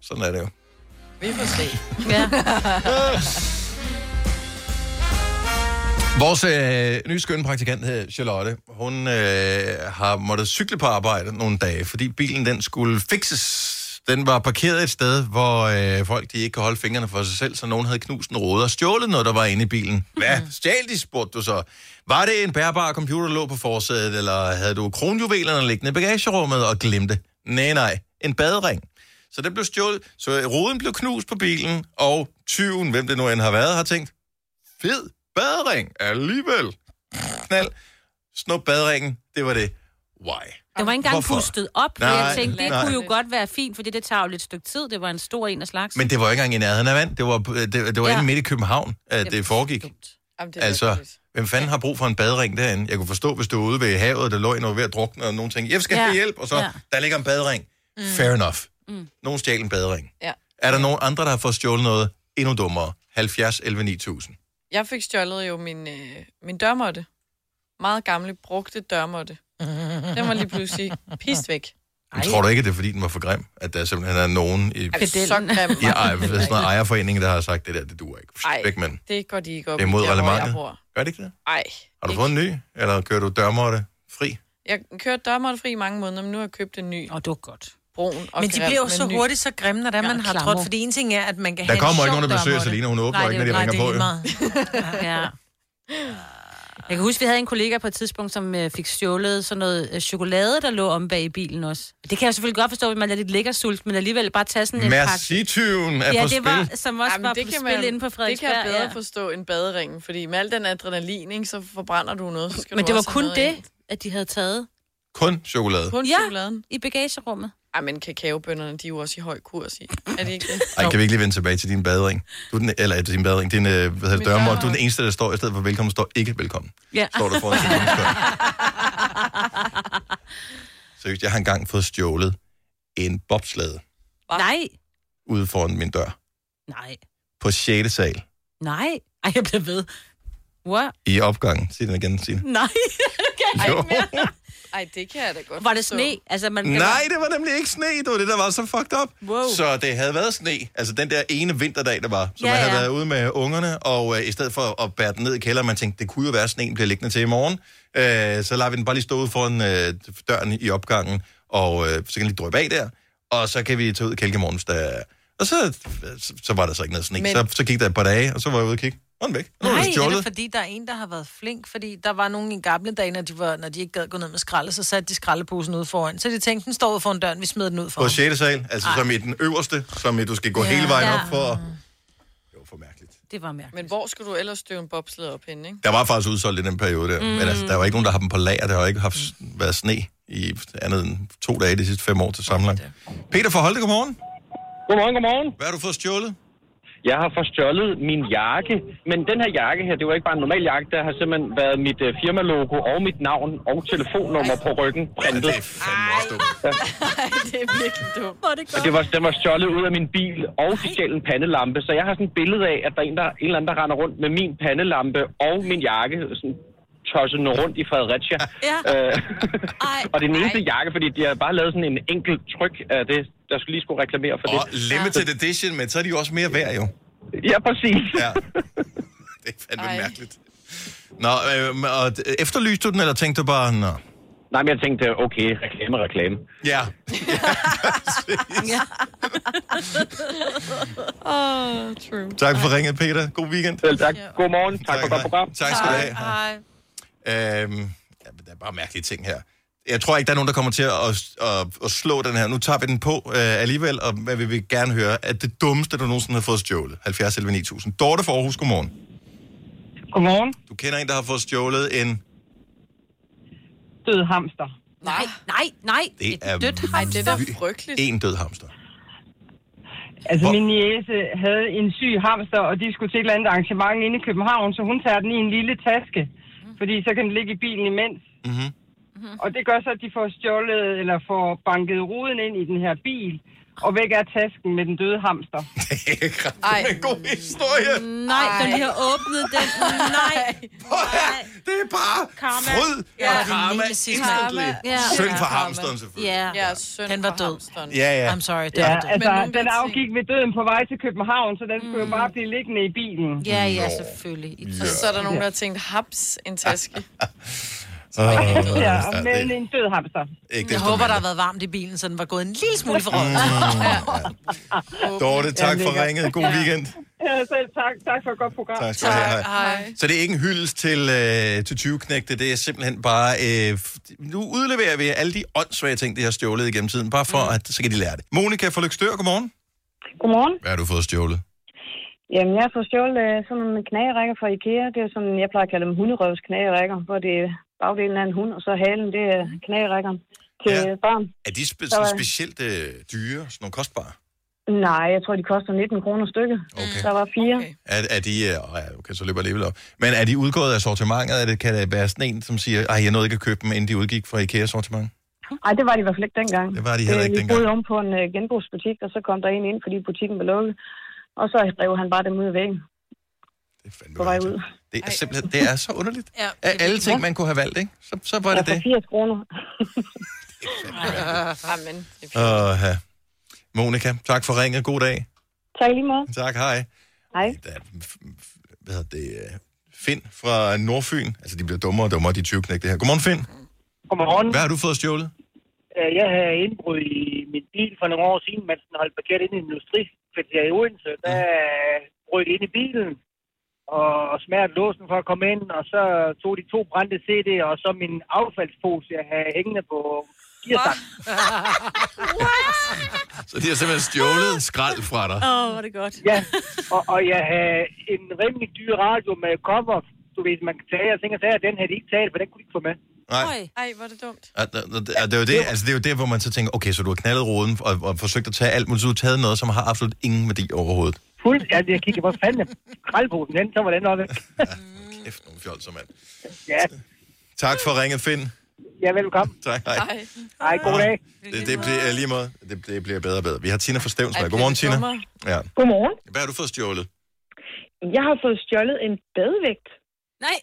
A: Sådan er det jo.
D: Vi får se.
C: Ja.
A: Vores øh, nye skønne praktikant her, Charlotte, hun øh, har måttet cykle på arbejde nogle dage, fordi bilen den skulle fixes. Den var parkeret et sted, hvor øh, folk de ikke kan holde fingrene for sig selv, så nogen havde knust en rode og stjålet noget, der var inde i bilen. Hvad? Stjal de, spurgte du så. Var det en bærbar computer, der lå på forsædet, eller havde du kronjuvelerne liggende i bagagerummet og glemte? Nej, nej. En badering. Så den blev stjålet, så ruden blev knust på bilen, og tyven, hvem det nu end har været, har tænkt, fed badring alligevel. Knald. Snup badringen. Det var det. Why?
B: Det var ikke engang
A: Hvorfor?
B: pustet op, nej,
A: Nej,
B: jeg tænkte, det
A: nej.
B: kunne jo godt være fint, fordi det tager jo lidt stykke tid. Det var en stor en af slags.
A: Men det var jo ikke engang i nærheden af vand. Det var, øh, det, det var
B: Ja.
A: ja. inde midt i København, at øh, det foregik.
D: Jamen, det er
A: Altså, hvem fanden har brug for en badring derinde? Jeg kunne forstå, hvis du var ude ved havet, der lå en og var ved at drukne, og nogen tænkte, jeg skal
D: Ja.
A: have hjælp, og så,
D: Ja.
A: der ligger en badring.
D: Mm.
A: Mm. [laughs] Fair enough.
D: Mm.
A: Mm. Nogen stjal en badring.
D: Ja.
A: Er der nogen andre, der har fået stjålet noget endnu dummere? 70 11 9000.
D: Jeg fik stjålet jo min, øh, min dørmåtte. Meget gamle, brugte dørmåtte. Den var lige pludselig pist væk.
A: Men Tror du ikke, det er fordi, den var for grim? At der simpelthen er nogen i,
D: Ej, så grim var
A: i
D: den
A: ej,
D: heller
A: sådan
D: ikke.
A: noget ejerforening, der har sagt, det der, det duer ikke.
D: Ej,
A: Ej, Væk med den.
D: det går de ikke op
A: Det er mod
D: i, der, hvor jeg
A: reglementet.
D: bor.
A: Gør det ikke det?
D: Ej,
A: Har du fået en ny? Eller kører du dørmåtte fri?
D: jeg kørte dørmåtte fri i mange måneder, men nu har jeg købt en ny.
B: Og det var godt.
D: Brun og
E: Men de
D: grim,
E: bliver jo så
D: ny.
E: hurtigt så grimme, når det er, man
D: Ja,
E: har
D: klammer.
E: trådt. Fordi en ting er, at man kan
A: Der
E: have
A: kommer
E: en
A: ikke
E: sjov
A: nogen og besøger
E: dørmåtte.
A: Selina. Hun åbner ikke, når de
E: det-
A: ringer
E: nej,
A: på,
E: det
A: jo.
E: er lige
B: ja. Jeg kan huske, vi havde en kollega på et tidspunkt, som øh, fik stjålet sådan noget øh, chokolade, der lå om bag i bilen også. Det kan jeg selvfølgelig godt forstå, at man er lidt lækker sult, men alligevel bare tage sådan en
A: Merci-tyven er
B: Ja,
A: på
B: det var-
A: spil.
E: Altså,
B: som også var på spil inde på
D: Det kan jeg
B: Frederiksberg,
D: bedre
B: ja.
D: forstå end baderingen, fordi med al den adrenalin, ikke, så forbrænder du noget. Så skal
B: Men
D: du
B: det var
D: også have
B: kun
D: noget
B: det,
D: ind.
B: at de havde taget.
A: Kun chokolade.
D: Kun
B: ja,
D: chokoladen.
B: i bagagerummet.
D: Ej, men kakaobønderne, de er jo også i høj kurs i. Er det ikke det?
A: Ej, kan vi ikke lige vende tilbage til din badring? Du er den, eller øh, din badring, din øh, hvad hedder det,
D: Min
A: dørmåtte.
D: dørmåtte.
A: Du er den eneste, der står i stedet for velkommen, står ikke velkommen.
B: Ja.
A: Står
B: [laughs]
A: der foran sit Seriøst, jeg har engang fået stjålet en bobslade
B: Nej,
A: ude foran min dør
B: nej,
A: på 6. sal
B: nej. Ej, jeg bliver ved. What?
A: i opgangen. Sig den igen, Signe.
B: Nej, det kan jeg
A: Jo.
B: ikke mere.
D: Ej, det kan jeg da godt
B: Var det sne? Altså, man kan
A: Nej, det var nemlig ikke sne, det var det, der var så fucked up.
B: Wow.
A: Så det havde været sne, altså den der ene vinterdag, der var, så
B: Ja,
A: man havde
B: ja.
A: været ude med ungerne, og øh, i stedet for at bære den ned i kælderen, man tænkte, det kunne jo være, at sneen bliver liggende til i morgen, øh, så lader vi den bare lige stå ude foran øh, døren i opgangen, og øh, så kan den lige drøbe af der, og så kan vi tage ud i kælkemorgen, hvis der er- og så, så, så var der så ikke noget sne.
E: Men-
A: Men... Så, så gik der et par dage, og så var jeg ude og kigge. Og den væk. Og den var
E: Nej, er
A: stjålet.
E: det fordi, der er en, der har været flink? Fordi der var nogen i gamle dage, når de, var, når de ikke gad gå ned med skralde, så satte de skraldeposen ude foran. Så de tænkte, den står ude foran døren, vi smider den ud
A: På
E: foran.
A: 6. sal, altså Ej. som i den øverste, som i, du skal gå
E: Ja.
A: ja. hele vejen
E: Ja.
A: op for.
B: Det var mærkeligt.
D: Men hvor skulle du ellers støve en bobsled op henne, ikke?
A: Der var faktisk udsolgt i den periode der, mm. men altså, der var ikke nogen, der har dem på lager. Der har ikke haft været sne i andet end to dage de sidste fem år til sammenlagt. Peter for Holte, godmorgen.
J: Godmorgen, godmorgen.
A: Hvad har du fået stjålet?
J: Jeg har fået stjålet min jakke, men den her jakke her, det var ikke bare en normal jakke, der har simpelthen været mit uh, firmalogo og mit navn og telefonnummer på ryggen printet. Ja,
D: Ej, det er virkelig dumt.
B: Hvor er det
J: og det var, den var stjålet ud af min bil, og de stjal en pandelampe, så jeg har sådan et billede af, at der er en, der, en eller anden, der render rundt med min pandelampe og min jakke, sådan tossende rundt i Fredericia.
B: Ja.
J: Øh, [laughs] og det er den eneste jakke, fordi de har bare lavet sådan en enkelt tryk af det, der skulle lige skulle reklamere for
A: Og
J: det.
A: limited edition, men så er de jo også mere værd jo.
J: Ja, præcis.
A: Ja. Det er fandme Ej. mærkeligt. Nå, øh, men, og d- efterlyste du den, eller tænkte du bare, nå?
J: Nej, men jeg tænkte, okay, reklame, reklame.
A: Ja.
D: [laughs]
B: Ja.
D: oh, true.
A: Tak for ringet, Peter. God weekend.
J: Selv tak. God morgen. Tak,
A: for godt program. Tak skal du have.
E: Hej.
A: Øhm, ja, men der er bare mærkelige ting her. Jeg tror ikke, der er nogen, der kommer til at, at, at, at slå den her. Nu tager vi den på øh, alligevel, og men vi vil gerne høre, at det dummeste, du nogensinde har fået stjålet. 70 11 9000. Dorte fra Aarhus, godmorgen.
W: Godmorgen.
A: Du kender en, der har fået stjålet en...
W: Død hamster.
B: Nej, nej, nej.
A: Det er
W: Ej, det er
A: vy-
W: frygteligt.
A: En død hamster.
W: Altså, min niece havde en syg hamster, og de skulle til et eller andet arrangement inde i København, så hun tager den i en lille taske, fordi så kan den ligge i bilen imens.
A: Mm-hmm.
W: Og det gør så, at de får stjålet, eller får banket ruden ind i den her bil, og væk er tasken med den døde hamster.
A: Ej. [laughs] Det er en god historie.
B: Nej, når de har åbnet den. Nej.
A: Det er bare
B: karma.
A: fryd
B: Ja.
A: og karma
B: Lille sidste.
A: instantly.
B: Ja.
A: Synd for
B: Ja.
A: hamsteren, selvfølgelig.
B: Ja.
D: ja synd
E: den var død.
A: Ja, ja.
E: I'm sorry, den
W: Ja,
E: var død.
W: altså,
E: Men nu-
W: den afgik ved døden på vej til København, så den skulle jo bare blive liggende i bilen.
B: Ja, ja, selvfølgelig. I
D: Og så er der nogen, der har tænkt, haps, en
A: [laughs]
D: taske.
A: Åh,
W: Ja,
A: ja,
W: med
A: det-
W: en død hamster.
A: Ikke
E: Jeg
A: desto
E: håber, der
A: mindre.
E: har været varmt i bilen, så den var gået en lille smule for røven.
A: Dorte, tak for ringet. God weekend.
W: Ja, selv tak. Tak for et godt program.
A: Tak skal du have.
W: Hej.
A: Så det er ikke en hyldest til, øh, til 20-knægte, det er simpelthen bare... Øh, f- nu udleverer vi alle de åndssvage ting, de har stjålet igennem tiden,
W: Mm.
A: bare for at så kan de lære det. Monika fra Lykstør, godmorgen.
X: Godmorgen.
A: Hvad har du fået stjålet?
M: Jamen, jeg har fået stjålet øh, sådan nogle knagerækker fra IKEA. Det er jo sådan, jeg plejer at kalde dem hunderøvs knagerækker, hvor det er bagdelen af en hund, og så halen, det er knagerækkeren til
A: Ja.
M: ja. børn.
A: Er de spe-
M: Så,
A: sådan
M: øh,
A: specielt øh, dyre, sådan nogle kostbare?
M: Nej, jeg tror, de koster 19 kroner stykket. Okay. Der var fire. Okay.
A: Er, er de, øh, åh, ja, okay, så løber jeg alligevel op. Men er de udgået af sortimentet? Er det, kan det være sådan en, som siger, at jeg nåede ikke at købe dem, inden de udgik fra IKEA-sortiment?
M: Ej, det var de i hvert fald ikke dengang.
A: Det var de heller ikke
M: Vi boede om på en øh, genbrugsbutik, og så kom der en ind, fordi butikken var lukket. Og så drev han bare dem ud af væggen.
A: Det er fandme
M: På vej ud.
A: Det er simpelthen, det er så underligt.
M: Ja,
A: Af alle ting, man kunne have valgt, ikke? Så, så var det
M: Ja,
A: [laughs] det.
M: for 80 Altså, kroner.
A: [laughs]
D: Amen.
A: Åh, ja. Monika, tak for ringet. God dag.
M: [laughs] tak i lige måde.
A: Tak, hej.
M: Hej.
A: Hvad hedder det? øh, Finn fra Nordfyn. Altså, de bliver dummere og dummere, de 20 knægte her. Godmorgen, Finn.
Y: Godmorgen.
A: Hvad har du fået stjålet?
Y: Øh, Jeg havde indbrud i min bil for nogle år siden, mens den holdt parkeret inde i en industrikvarter i Odense. Der brød de ind i bilen og smærte låsen for at komme ind, og så tog de to brændte CD'er, og så min affaldspose, jeg havde hængende på gearstangen.
A: Så de har simpelthen stjålet skrald fra dig.
E: Åh, oh, var det godt.
Y: Ja, og, og jeg havde en rimelig dyr radio med cover, du ved, man kan tage, og tænker, at den havde de ikke taget, for den kunne de ikke få med.
A: Nej.
D: Ej, hvor er det dumt.
A: Og, og, og, og det, er jo det, altså, det er jo der, hvor man så tænker, okay, så du har knaldet roden og, og forsøgt at tage alt, men så har du taget noget, som har absolut ingen værdi overhovedet.
Y: Fuld, altså, jeg kiggede, hvor
D: [laughs]
Y: fanden er skraldposen hen, så var den oppe.
A: Kæft, nogle fjolser, mand.
Y: ja,
A: Tak for ringet, Finn.
Y: ja, velkommen.
A: Tak, hej.
Y: Hej. Hej, god dag.
A: Det, det bliver øh, lige måde, det, det bliver bedre og bedre. Vi har Tina fra Stevnsberg. Godmorgen, Tina. Ja.
L: Godmorgen.
A: Hvad har du fået stjålet?
L: Jeg har fået stjålet en badevægt.
E: Nej.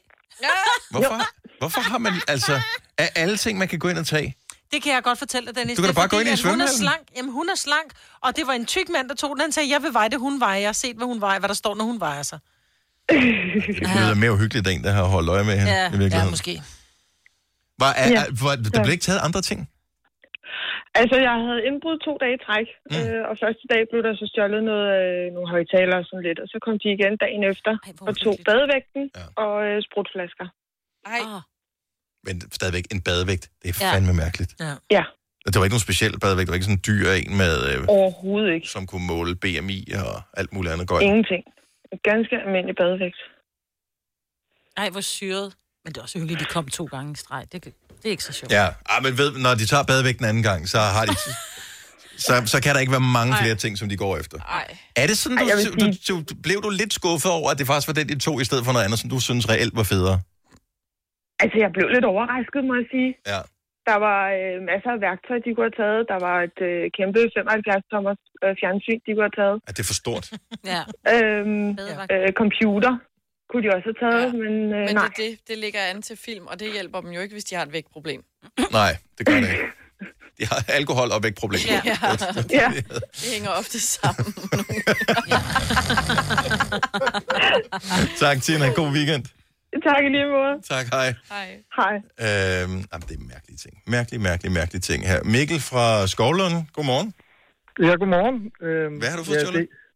A: Hvorfor, hvorfor har man, altså, af alle ting, man kan gå ind og tage?
C: Det kan jeg godt fortælle dig, Dennis.
A: Du kan
C: Det er
A: da bare gå
C: fordi,
A: ind i
C: at Hun er
A: svømmehallen.
C: slank. Jamen, hun er slank, og det var en tyk mand, der tog den. Han sagde, jeg vil veje det, hun vejer. Jeg har set, hvad hun vejer, hvad der står, når hun vejer sig.
A: Det lyder mere uhyggeligt, end der har holdt øje med hende i virkeligheden.
C: ja, måske.
A: Var, er,
L: Ja.
A: er, var, der blev ikke taget andre ting?
L: Altså, jeg havde indbrud to dage i træk, mm. øh, og første dag blev der så stjålet noget, øh, nogle højtalere og sådan lidt, og så kom de igen dagen efter Ej, og tog badevægten ja. og øh, sprutflasker.
D: Ej.
A: Men stadigvæk en badevægt. Det er
L: Ja.
A: fandme mærkeligt.
C: Ja.
L: Ja,
A: Og det var ikke nogen speciel badevægt. Det var ikke sådan en dyr en med... Øh,
L: overhovedet ikke.
A: som kunne måle BMI og alt muligt andet godt.
L: Ingenting. En ganske almindelig badevægt.
E: Ej, hvor syret. Men det er også hyggeligt, at de kom to gange i streg. Det, det er ikke så sjovt.
A: Ja, ah, men ved, når de tager badevægten anden gang, så
L: [laughs]
A: har de... så, så kan der ikke være mange flere ting, som de går efter.
D: Ej.
A: Er det sådan,
L: Ej, jeg
A: du,
L: vil
A: du, du, du, blev du lidt skuffet over, at det faktisk var den, de to, i stedet for noget andet, som du synes reelt var federe?
L: Altså, jeg blev lidt overrasket, må jeg sige.
A: Ja.
L: Der var øh, masser af værktøj, de kunne have taget. Der var et øh, kæmpe 75-tommers øh, fjernsyn, de kunne have taget.
A: At det er for stort?
E: Ja.
L: Øhm, øh, computer kunne de også have taget, ja. men øh,
D: Men
L: nej.
D: det, er det, det ligger an til film, og det hjælper dem jo ikke, hvis de har et vægtproblem.
A: Nej, det gør det ikke. De har alkohol og vægtproblemer. [laughs]
D: ja. Det hænger ofte sammen.
A: tak, Tina. God weekend.
L: Tak i lige måde.
A: Tak, hej.
D: Hej.
L: Hej.
A: Øhm, jamen, det er mærkelige ting. Mærkelige, mærkelige, mærkelige ting her. Mikkel fra Skovlund, godmorgen.
X: Ja, godmorgen. Øhm,
A: Hvad har du fået stjålet?
X: det-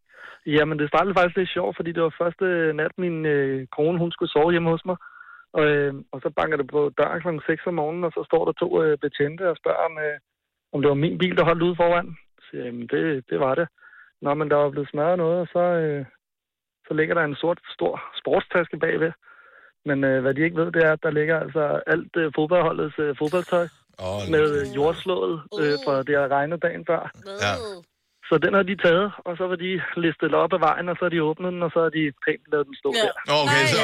X: Jamen, det startede faktisk lidt sjovt, fordi det var første nat, min øh, kone hun skulle sove hjemme hos mig. Og, øh, og så banker det på døren kl. 6 om morgenen, og så står der to øh, betjente og spørger, om, øh, om det var min bil, der holdt ude foran. Så siger jeg, jamen, det, det var det. Nå, men der var blevet smadret noget, og så, øh, så ligger der en sort, stor sportstaske bagved. Men øh, hvad de ikke ved, det er, at der ligger altså alt øh, fodboldholdets øh, fodboldtøj
A: oh,
X: med øh, jordslået øh, fra det, der regnet dagen før.
A: Ja.
X: Så den har de taget, og så var de listet op af vejen, og så har de åbnet den, og så har de pænt lavet den stå ja. der.
A: Okay, så.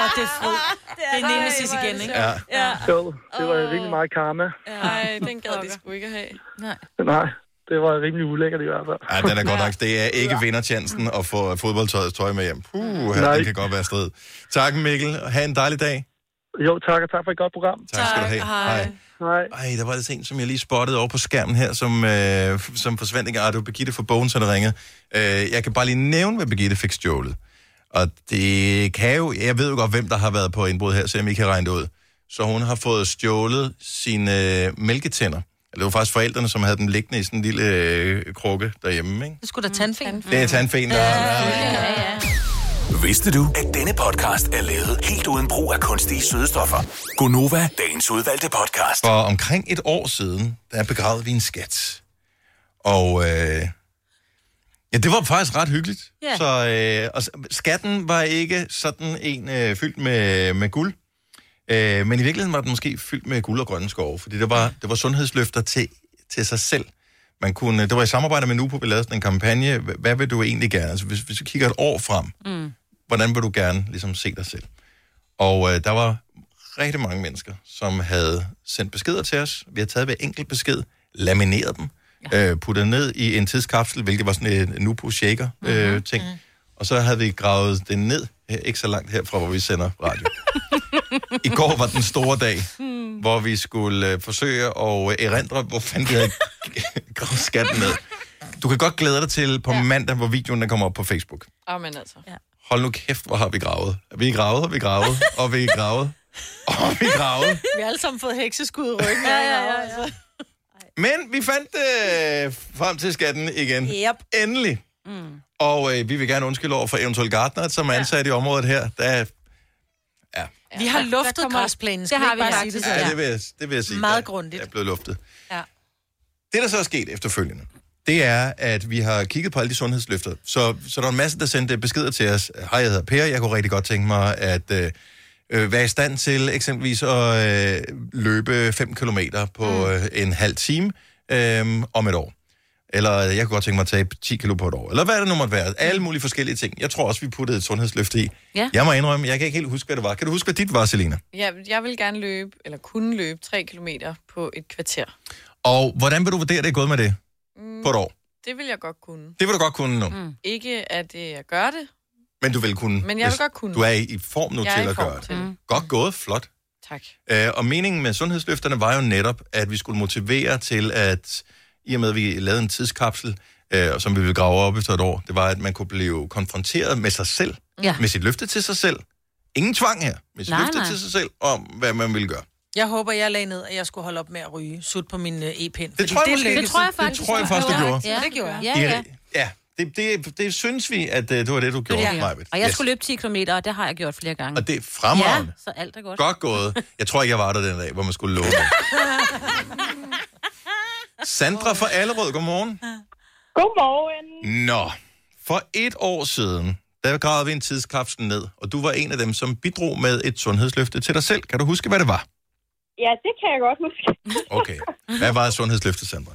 C: Og det er fryd.
D: Ah,
C: Det er nemesis igen, ikke?
A: Ja.
X: Ja. Jo, det var virkelig meget karma.
D: Nej, den gad de sgu ikke at have.
C: Nej.
X: Nej, det var rimelig ulækkert i hvert fald.
A: Ja, den er godt nok. Det er ikke vinderchancen at få fodboldtøjets tøj med hjem. Puh, her,
X: Nej.
A: det kan godt være strid. Tak, Mikkel. Ha' en dejlig dag.
X: Jo, tak, og tak for et godt program.
A: Tak skal du have. Hej.
X: Hej.
A: Ej, der var det en, som jeg lige spottede over på skærmen her, som, øh, f- som forsvandt ikke. Ah, det var Birgitte fra Bogen, der ringede. Øh, jeg kan bare lige nævne, hvad Birgitte fik stjålet. Og det kan jo... Jeg ved jo godt, hvem der har været på indbrud her, så jeg ikke kan regne det ud. Så hun har fået stjålet sine øh, mælketænder. Eller det var faktisk forældrene, som havde dem liggende i sådan en lille øh, krukke derhjemme, ikke?
C: Det skulle da tandfen.
A: Det er tandfen, der...
I: Vidste du, at denne podcast er lavet helt uden brug af kunstige sødestoffer?
A: Gonova,
I: Dagens udvalgte podcast.
A: For omkring et år siden, der begravede vi en skat. Og øh, Ja, det var faktisk ret hyggeligt.
B: Ja.
A: Så, øh, og s- skatten var ikke sådan en øh, fyldt med, med guld, øh, men i virkeligheden var den måske fyldt med guld og grønne skove, fordi det var, det var sundhedsløfter til, til sig selv. Man kunne, det var i samarbejde med Nupo, vi lavede sådan en kampagne. Hva- Hvad vil du egentlig gerne? Altså, hvis, hvis vi kigger et år frem,
F: Mm.
A: hvordan vil du gerne ligesom, se dig selv? Og øh, der var rigtig mange mennesker, som havde sendt beskeder til os. Vi har taget hver enkelt besked, lamineret dem, ja. øh, puttet ned i en tidskapsel, hvilket var sådan en Nupo Shaker-ting. Øh, ting. Og så havde vi gravet den ned, øh, ikke så langt herfra, hvor vi sender radio. I går var den store dag, hvor vi skulle øh, forsøge at øh, erindre, hvor fanden vi havde gravet skatten ned. Du kan godt glæde dig til på mandag, hvor videoen der kommer op på Facebook.
D: Åh, men altså. Ja.
A: Hold nu kæft, hvor har vi gravet. Vi gravede, og vi gravede, og vi gravede, og vi gravede.
E: Vi har alle sammen fået hekseskud i ryggen. altså. ja, ja, ja, ja.
A: Men vi fandt øh, frem til skatten igen.
E: Yep.
A: Endelig. Mm. Og øh, vi vil gerne undskylde over for eventuelt Gartner, som er ansat i området her. Der, er-
E: Vi har luftet græsplænen. skal
B: Det har
E: ikke
B: vi
E: bare sige
B: faktisk,
E: sådan?
A: ja, det, vil jeg, det vil jeg sige.
E: Meget
A: der-
E: grundigt.
A: Der er blevet luftet.
E: Ja.
A: Det, der så er sket efterfølgende, det er, at vi har kigget på alle de sundhedsløfter. Så, så der er en masse, der sendte beskeder til os. Hej, jeg hedder Per. Jeg kunne rigtig godt tænke mig at øh, øh, være i stand til eksempelvis at øh, løbe 5 km på mm. øh, en halv time øh, om et år. Eller øh, jeg kunne godt tænke mig at tabe 10 kilo på et år. Eller hvad det nu måtte være. Alle mulige forskellige ting. Jeg tror også, vi puttede et sundhedsløfte i.
D: Mm. Ja.
A: Jeg må indrømme, jeg kan ikke helt huske, hvad det var. Kan du huske, hvad dit var, Selina?
D: Ja, jeg vil gerne løbe, eller kunne løbe, 3 km på et kvarter.
A: Og hvordan vil du vurdere, det er gået med det
D: Mm,
A: på et år?
D: Det vil jeg godt kunne.
A: Det vil du godt kunne nu. Mm.
D: Mm. Ikke at øh, jeg gør det.
A: Men du vil kunne.
D: Men jeg vil
A: hvis
D: godt kunne.
A: Du er i, i form nu
D: Jeg er
A: til
D: i
A: at
D: form
A: gøre det.
D: til det.
A: Mm. Godt gået, flot.
D: Tak.
A: Øh, og meningen med sundhedsløfterne var jo netop, at vi skulle motivere til, at i og med, at vi lavede en tidskapsel, øh, som vi ville grave op efter et år, det var, at man kunne blive konfronteret med sig selv,
E: Ja.
A: med sit løfte til sig selv. Ingen tvang her, med sit
E: Nej,
A: løfte
E: nej.
A: til sig selv om, hvad man ville gøre.
E: Jeg håber, jeg lagde ned, at jeg skulle holde op med at ryge. Sut på min øh, e-pind. fordi
A: tror jeg måske-
E: lykkedes.
A: det tror jeg faktisk, Det tror jeg du faktisk, du gjorde. gjorde.
E: Ja, det gjorde jeg.
B: Ja, ja.
A: I- ja det, det, det synes vi, at øh, det var det, du gjorde,
B: Ja.
A: Majbet.
B: Og jeg yes. skulle løbe 10 km, og det har jeg gjort flere gange.
A: Og det er fremragende.
B: Ja, så alt er godt.
A: Godt gået. Jeg tror ikke, jeg var der den dag, hvor man skulle
B: [laughs]
A: love. Sandra fra Allerød, godmorgen. Godmorgen. Nå, for et år siden, der gravede vi en tidskapsel ned, og du var en af dem, som bidrog med et sundhedsløfte til dig selv. Kan du huske, hvad det var?
Z: Ja, det kan jeg godt huske. [laughs]
A: Okay. Hvad var sundhedsløftet, Sandra?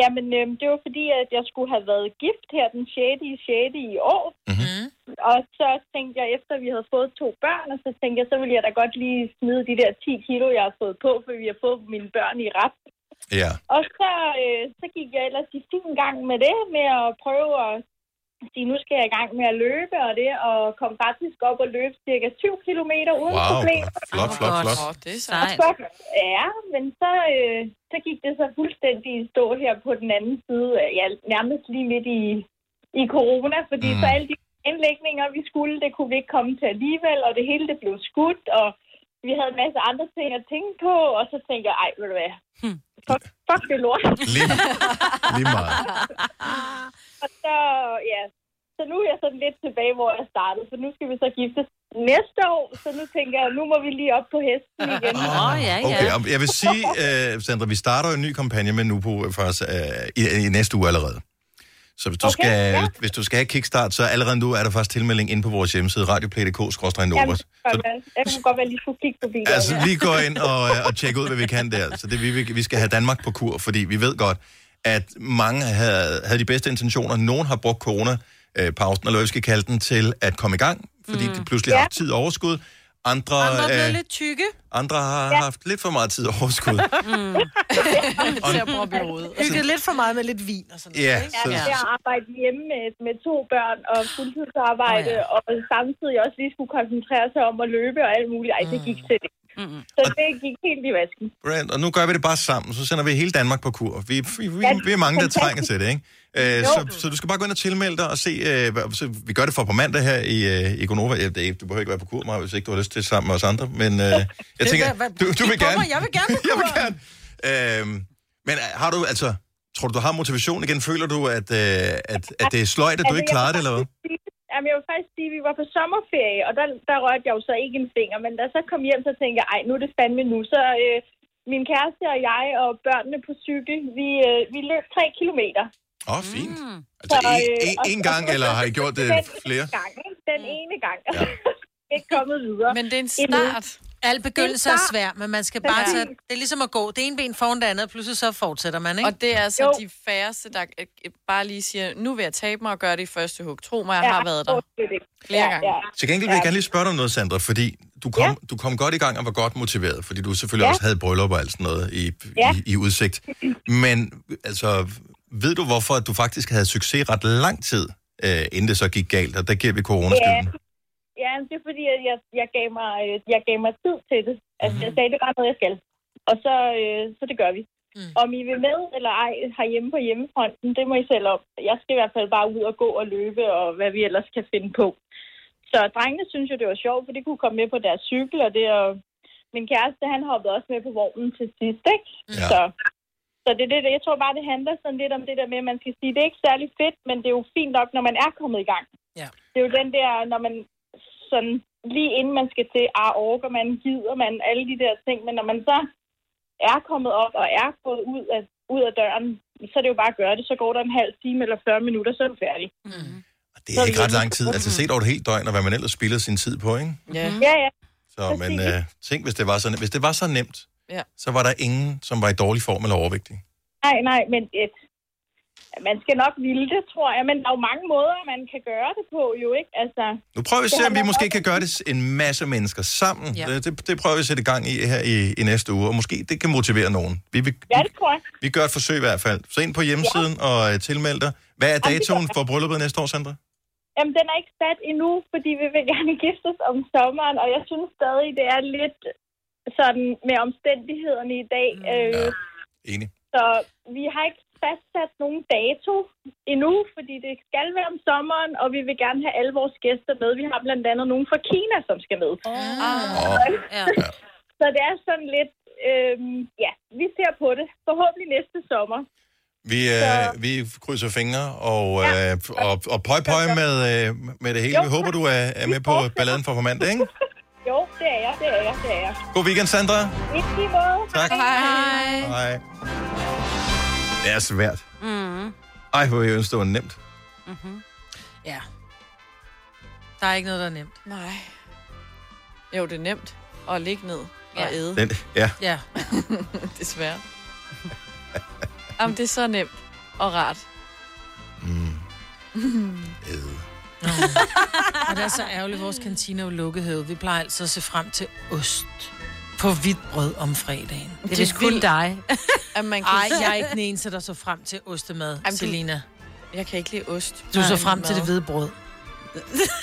Z: Jamen, øhm, det var fordi, at jeg skulle have været gift her den 6. i 6. i år.
A: Mm-hmm.
Z: Og så tænkte jeg, efter vi havde fået to børn, og så tænkte jeg, så ville jeg da godt lige smide de der 10 kilo, jeg har fået på, for vi har fået mine børn i ret.
A: Ja.
Z: Og så, øh, så gik jeg ellers i fin gang med det, med at prøve at sige, nu skal jeg i gang med at løbe, og det, og kom faktisk op og løbe cirka 7 km uden
A: Wow,
Z: problemer.
A: flot, flot, flot.
D: Åh, det er så.
Z: Og så, ja, men så, øh, så gik det så fuldstændig i stå her på den anden side, af- ja, nærmest lige midt i, i corona, fordi
A: Mm.
Z: mm. så alle de indlægninger, vi skulle, det kunne vi ikke komme til alligevel, og det hele det blev skudt, og vi havde en masse andre ting at tænke på, og så tænkte jeg, ej, ved du hvad, fuck, fuck det lort.
A: Lige, lige meget.
Z: [laughs] og så, ja, så nu er jeg sådan lidt tilbage, hvor jeg startede, for nu skal vi så giftes næste år, så nu tænker jeg, nu må vi lige op på hesten igen. Åh, oh, ja,
A: Okay, og jeg vil sige, uh, Sandra, vi starter jo en ny kampagne med Nupo for os, uh, i, i næste uge allerede. Så hvis du, okay,
Z: Okay,
A: skal, ja.
Z: ja.
A: hvis du skal have kickstart, så allerede nu er der faktisk tilmelding inde på vores hjemmeside, radioplay.dk-novas.
Z: Jamen, jeg kunne godt være lige skulle kigge forbi. der.
A: Altså, lige gå ind og, øh, og tjek ud, hvad vi kan der. Så det, vi, vi skal have Danmark på kur, fordi vi ved godt, at mange havde, havde de bedste intentioner. Nogen har brugt corona-pausen, eller hvad vi skal kalde den, til at komme i gang, fordi mm. de pludselig har haft tid og overskud. Andre,
E: Andre er blevet
A: øh,
E: lidt tykke.
A: andre har ja. haft lidt for meget tid og overskud.
E: Mm. til at proppe i hovedet. Hygget lidt for meget med lidt vin og sådan
A: Ja,
Z: Jeg er
A: så,
Z: ved at arbejde hjemme med, med to børn og fuldtidsarbejde, oh, ja. og samtidig også lige skulle koncentrere sig om at løbe og alt muligt. Ej, det gik til det. Mm-hmm. Så det gik helt i vasken.
A: Brand, og nu gør vi det bare sammen, så sender vi hele Danmark på kur. Vi, vi, vi,
Z: Ja,
A: vi er mange, der
Z: fantastisk.
A: trænger til det, ikke? Øh,
Z: Jo.
A: så, så du skal bare gå ind og tilmelde dig og se, øh, hvad- så vi gør det for på mandag her i, øh, i Gonova. Ja, det, du behøver ikke være på kur, Maja, hvis ikke du har lyst til sammen med os andre, men øh, jeg tænker, du, du vil gerne.
E: Jeg vil gerne.
A: jeg vil gerne. Øhm, men øh, har du, altså, tror du, du har motivation igen? Føler du, at, øh, at, at det er sløjt, at du
Z: Altså,
A: ikke
Z: jeg
A: klarer
Z: vil
A: det, eller hvad?
Z: faktisk sige- Jamen, jeg vil faktisk sige, at vi var på sommerferie, og der, der rørte jeg jo så ikke en finger. Men da jeg så kom hjem, så tænkte jeg, ej, nu er det fandme nu. Så øh, min kæreste og jeg og børnene på cykel, vi, øh, vi løb tre kilometer.
A: Åh, oh, fint. Altså,
Z: Så,
A: en,
Z: øh,
A: en,
Z: og-
A: en gang, eller har I gjort det
Z: Den
A: flere?
Z: ene gang, ikke? Den ene gang. Ja. ikke kommet videre.
D: Men det er en
C: start. Al begyndelse
Z: Det
C: er
Z: er
C: svær, men man skal bare
D: Ja.
C: tage... Det er ligesom at gå. Det ene ben foran det andet, og pludselig så fortsætter man, ikke?
D: Og det er altså jo. de færreste, der øh, øh, bare lige siger, nu vil jeg tabe mig og gøre det i første hug. Tro mig, jeg
Z: Ja,
D: har været der.
Z: stort set ikke.
D: Flere
Z: Ja,
D: gange.
Z: ja.
A: Til gengæld vil jeg gerne lige spørge dig om noget, Sandra, fordi du kom, ja. du kom godt i gang og var godt motiveret, fordi du selvfølgelig ja.
Z: Ja.
A: også havde bryllup og alt sådan noget i, ja.
Z: Ja.
A: i, i udsigt. Men altså, ved du hvorfor, at du faktisk havde succes ret lang tid, øh, inden det så gik galt, og der giver vi
Z: Ja,
A: coronaskylden?
Z: ja, men det er fordi, at jeg, jeg, gav mig, øh, jeg gav mig tid til det. Altså, jeg sagde, det er bare noget, jeg skal. Og så, øh, så det gør vi. Mm. Om I vil med eller ej herhjemme på hjemmefronten, det må I selv op. Jeg skal i hvert fald bare ud og gå og løbe, og hvad vi ellers kan finde på. Så drengene synes jo, det var sjovt, for de kunne komme med på deres cykel, og det er jo- min kæreste, han hoppede også med på vognen til sidst, ikke?
A: Ja.
Z: Så, så det, er det, jeg tror bare, det handler sådan lidt om det der med, at man skal sige, det er ikke særlig fedt, men det er jo fint nok, når man er kommet i gang.
C: Ja.
Z: Det er jo den der, når man sådan lige inden man skal til, ah, orker man, gider man, alle de der ting, men når man så er kommet op og er gået ud af, ud af døren, så er det jo bare at gøre det. Så går der en halv time eller 40 minutter, så er du færdig. Mm.
A: Det er ikke ret lang tid, altså set over et helt døgn, og hvad man ellers spilder sin tid på, ikke?
D: Ja.
Z: ja, ja.
A: Så men øh, tænk, hvis det, var så, hvis det var så nemt,
D: ja.
A: så var der ingen, som var i dårlig form eller overvægtig.
Z: Nej, nej, men et, man skal nok ville det, tror jeg. Men der er jo mange måder, man kan gøre det på, jo ikke? Altså,
A: Nu prøver vi at
Z: det
A: se, om vi
Z: handler
A: måske
Z: også
A: kan gøre det s- en masse mennesker sammen.
Z: Ja.
A: Ja. Det, det, det prøver vi at sætte i gang i her i, i næste uge, og måske det kan motivere nogen. Vi, vi,
Z: Ja, det tror jeg.
A: vi gør et forsøg i hvert fald. Så ind på hjemmesiden ja. og øh, tilmeld dig. Hvad er
Z: Jamen, det
A: datoen
Z: gør jeg.
A: for brylluppet næste år, Sandra?
Z: Jamen, den er ikke sat endnu, fordi vi vil gerne [laughs] giftes om sommeren, og jeg synes stadig, det er lidt sådan med omstændighederne i dag. Mm. Øh, ja,
A: enig.
Z: Så vi har ikke fastsat nogen dato endnu, fordi det skal være om sommeren, og vi vil gerne have alle vores gæster med. Vi har blandt andet nogen fra Kina, som skal med.
A: Åh.
Z: Ah. Ja. Så det er sådan lidt, øh, ja, vi ser på det. Forhåbentlig næste sommer.
A: Vi, øh, vi krydser fingre og, øh, og, og pøj pøj med, øh, med det hele.
Z: Jo,
A: Vi håber, du er, er med på balladen for på mandag, ikke?
Z: Jo, det er jeg, det er jeg, det er jeg.
A: God weekend, Sandra.
Z: I lige måde.
A: Tak.
Z: Hej.
A: Hej. Det er svært.
C: Mm.
A: Ej, hvor jeg ønsker, det var nemt.
C: Mm-hmm. Ja. Der er ikke noget, der er nemt.
D: Nej. Jo, det er nemt at ligge ned og æde.
A: Den, ja.
C: Ja.
D: [laughs] Desværre. Jamen, det er så nemt og rart.
C: Mm. [laughs] Og det er så ærgerligt, at vores kantine er jo lukket herude. Vi plejer altså at se frem til ost på hvidt brød om fredagen.
B: Det er vist kun dig.
D: at man kan...
C: Ej, jeg er ikke den eneste, der så frem til ostemad,
D: Jamen,
C: Jamen,
D: du-
C: Selina.
D: Jeg kan ikke lide ost.
C: Du så
D: Nej,
C: frem til
D: mad.
C: det
D: [laughs]
C: hvide brød.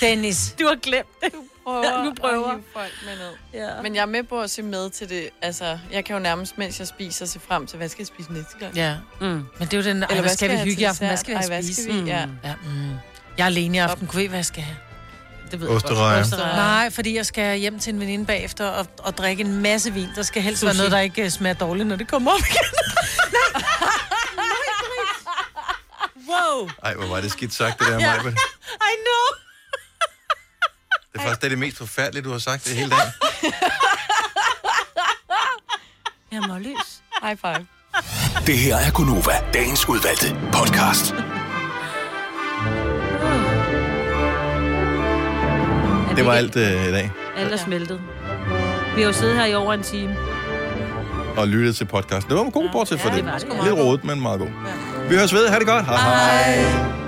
C: Dennis.
B: Du har glemt det.
D: Du prøver,
B: Nu prøver.
D: at hive folk med ned. Ja. Men jeg er med på at se med til det. Altså, jeg kan jo nærmest, mens jeg spiser, se frem til, hvad skal jeg spise næste gang?
C: Ja. Mm. Men det er jo den, Eller,
D: Eller
C: ej,
D: hvad
C: hvad skal vi
D: skal jeg
C: hygge i
D: til
C: aften? Hvad
D: dessert?
C: skal vi
D: Ej, hvad
C: spise?
D: skal vi? Ja.
C: Mm. ja mm. Jeg er alene i aften. Kunne I, hvad jeg skal have? Det ved
A: Osterrejer.
C: Osterrejer. Nej, fordi jeg skal hjem til en veninde bagefter og, og drikke en masse vin. Der skal helst være
B: Sushi.
C: noget, der ikke øh, smager dårligt, når det kommer op igen. wow.
A: Ej, hvor var det skidt sagt, det der,
C: Ja.
A: ja. Maja.
C: I know.
A: Det er faktisk det, er det mest forfærdelige, du har sagt det hele [laughs] dagen.
B: Jeg må lys.
D: High five.
I: Det her er Gunova, dagens udvalgte podcast.
A: Det var alt øh, i dag.
B: Eller smeltet. Vi har jo siddet her i over en time.
A: Og lyttet til podcasten. Det var en god, bortset for
B: det
A: det.
B: var det, ja.
A: Lidt rodet, men meget god. Vi høres ved. Ha' det godt. Hej. hej.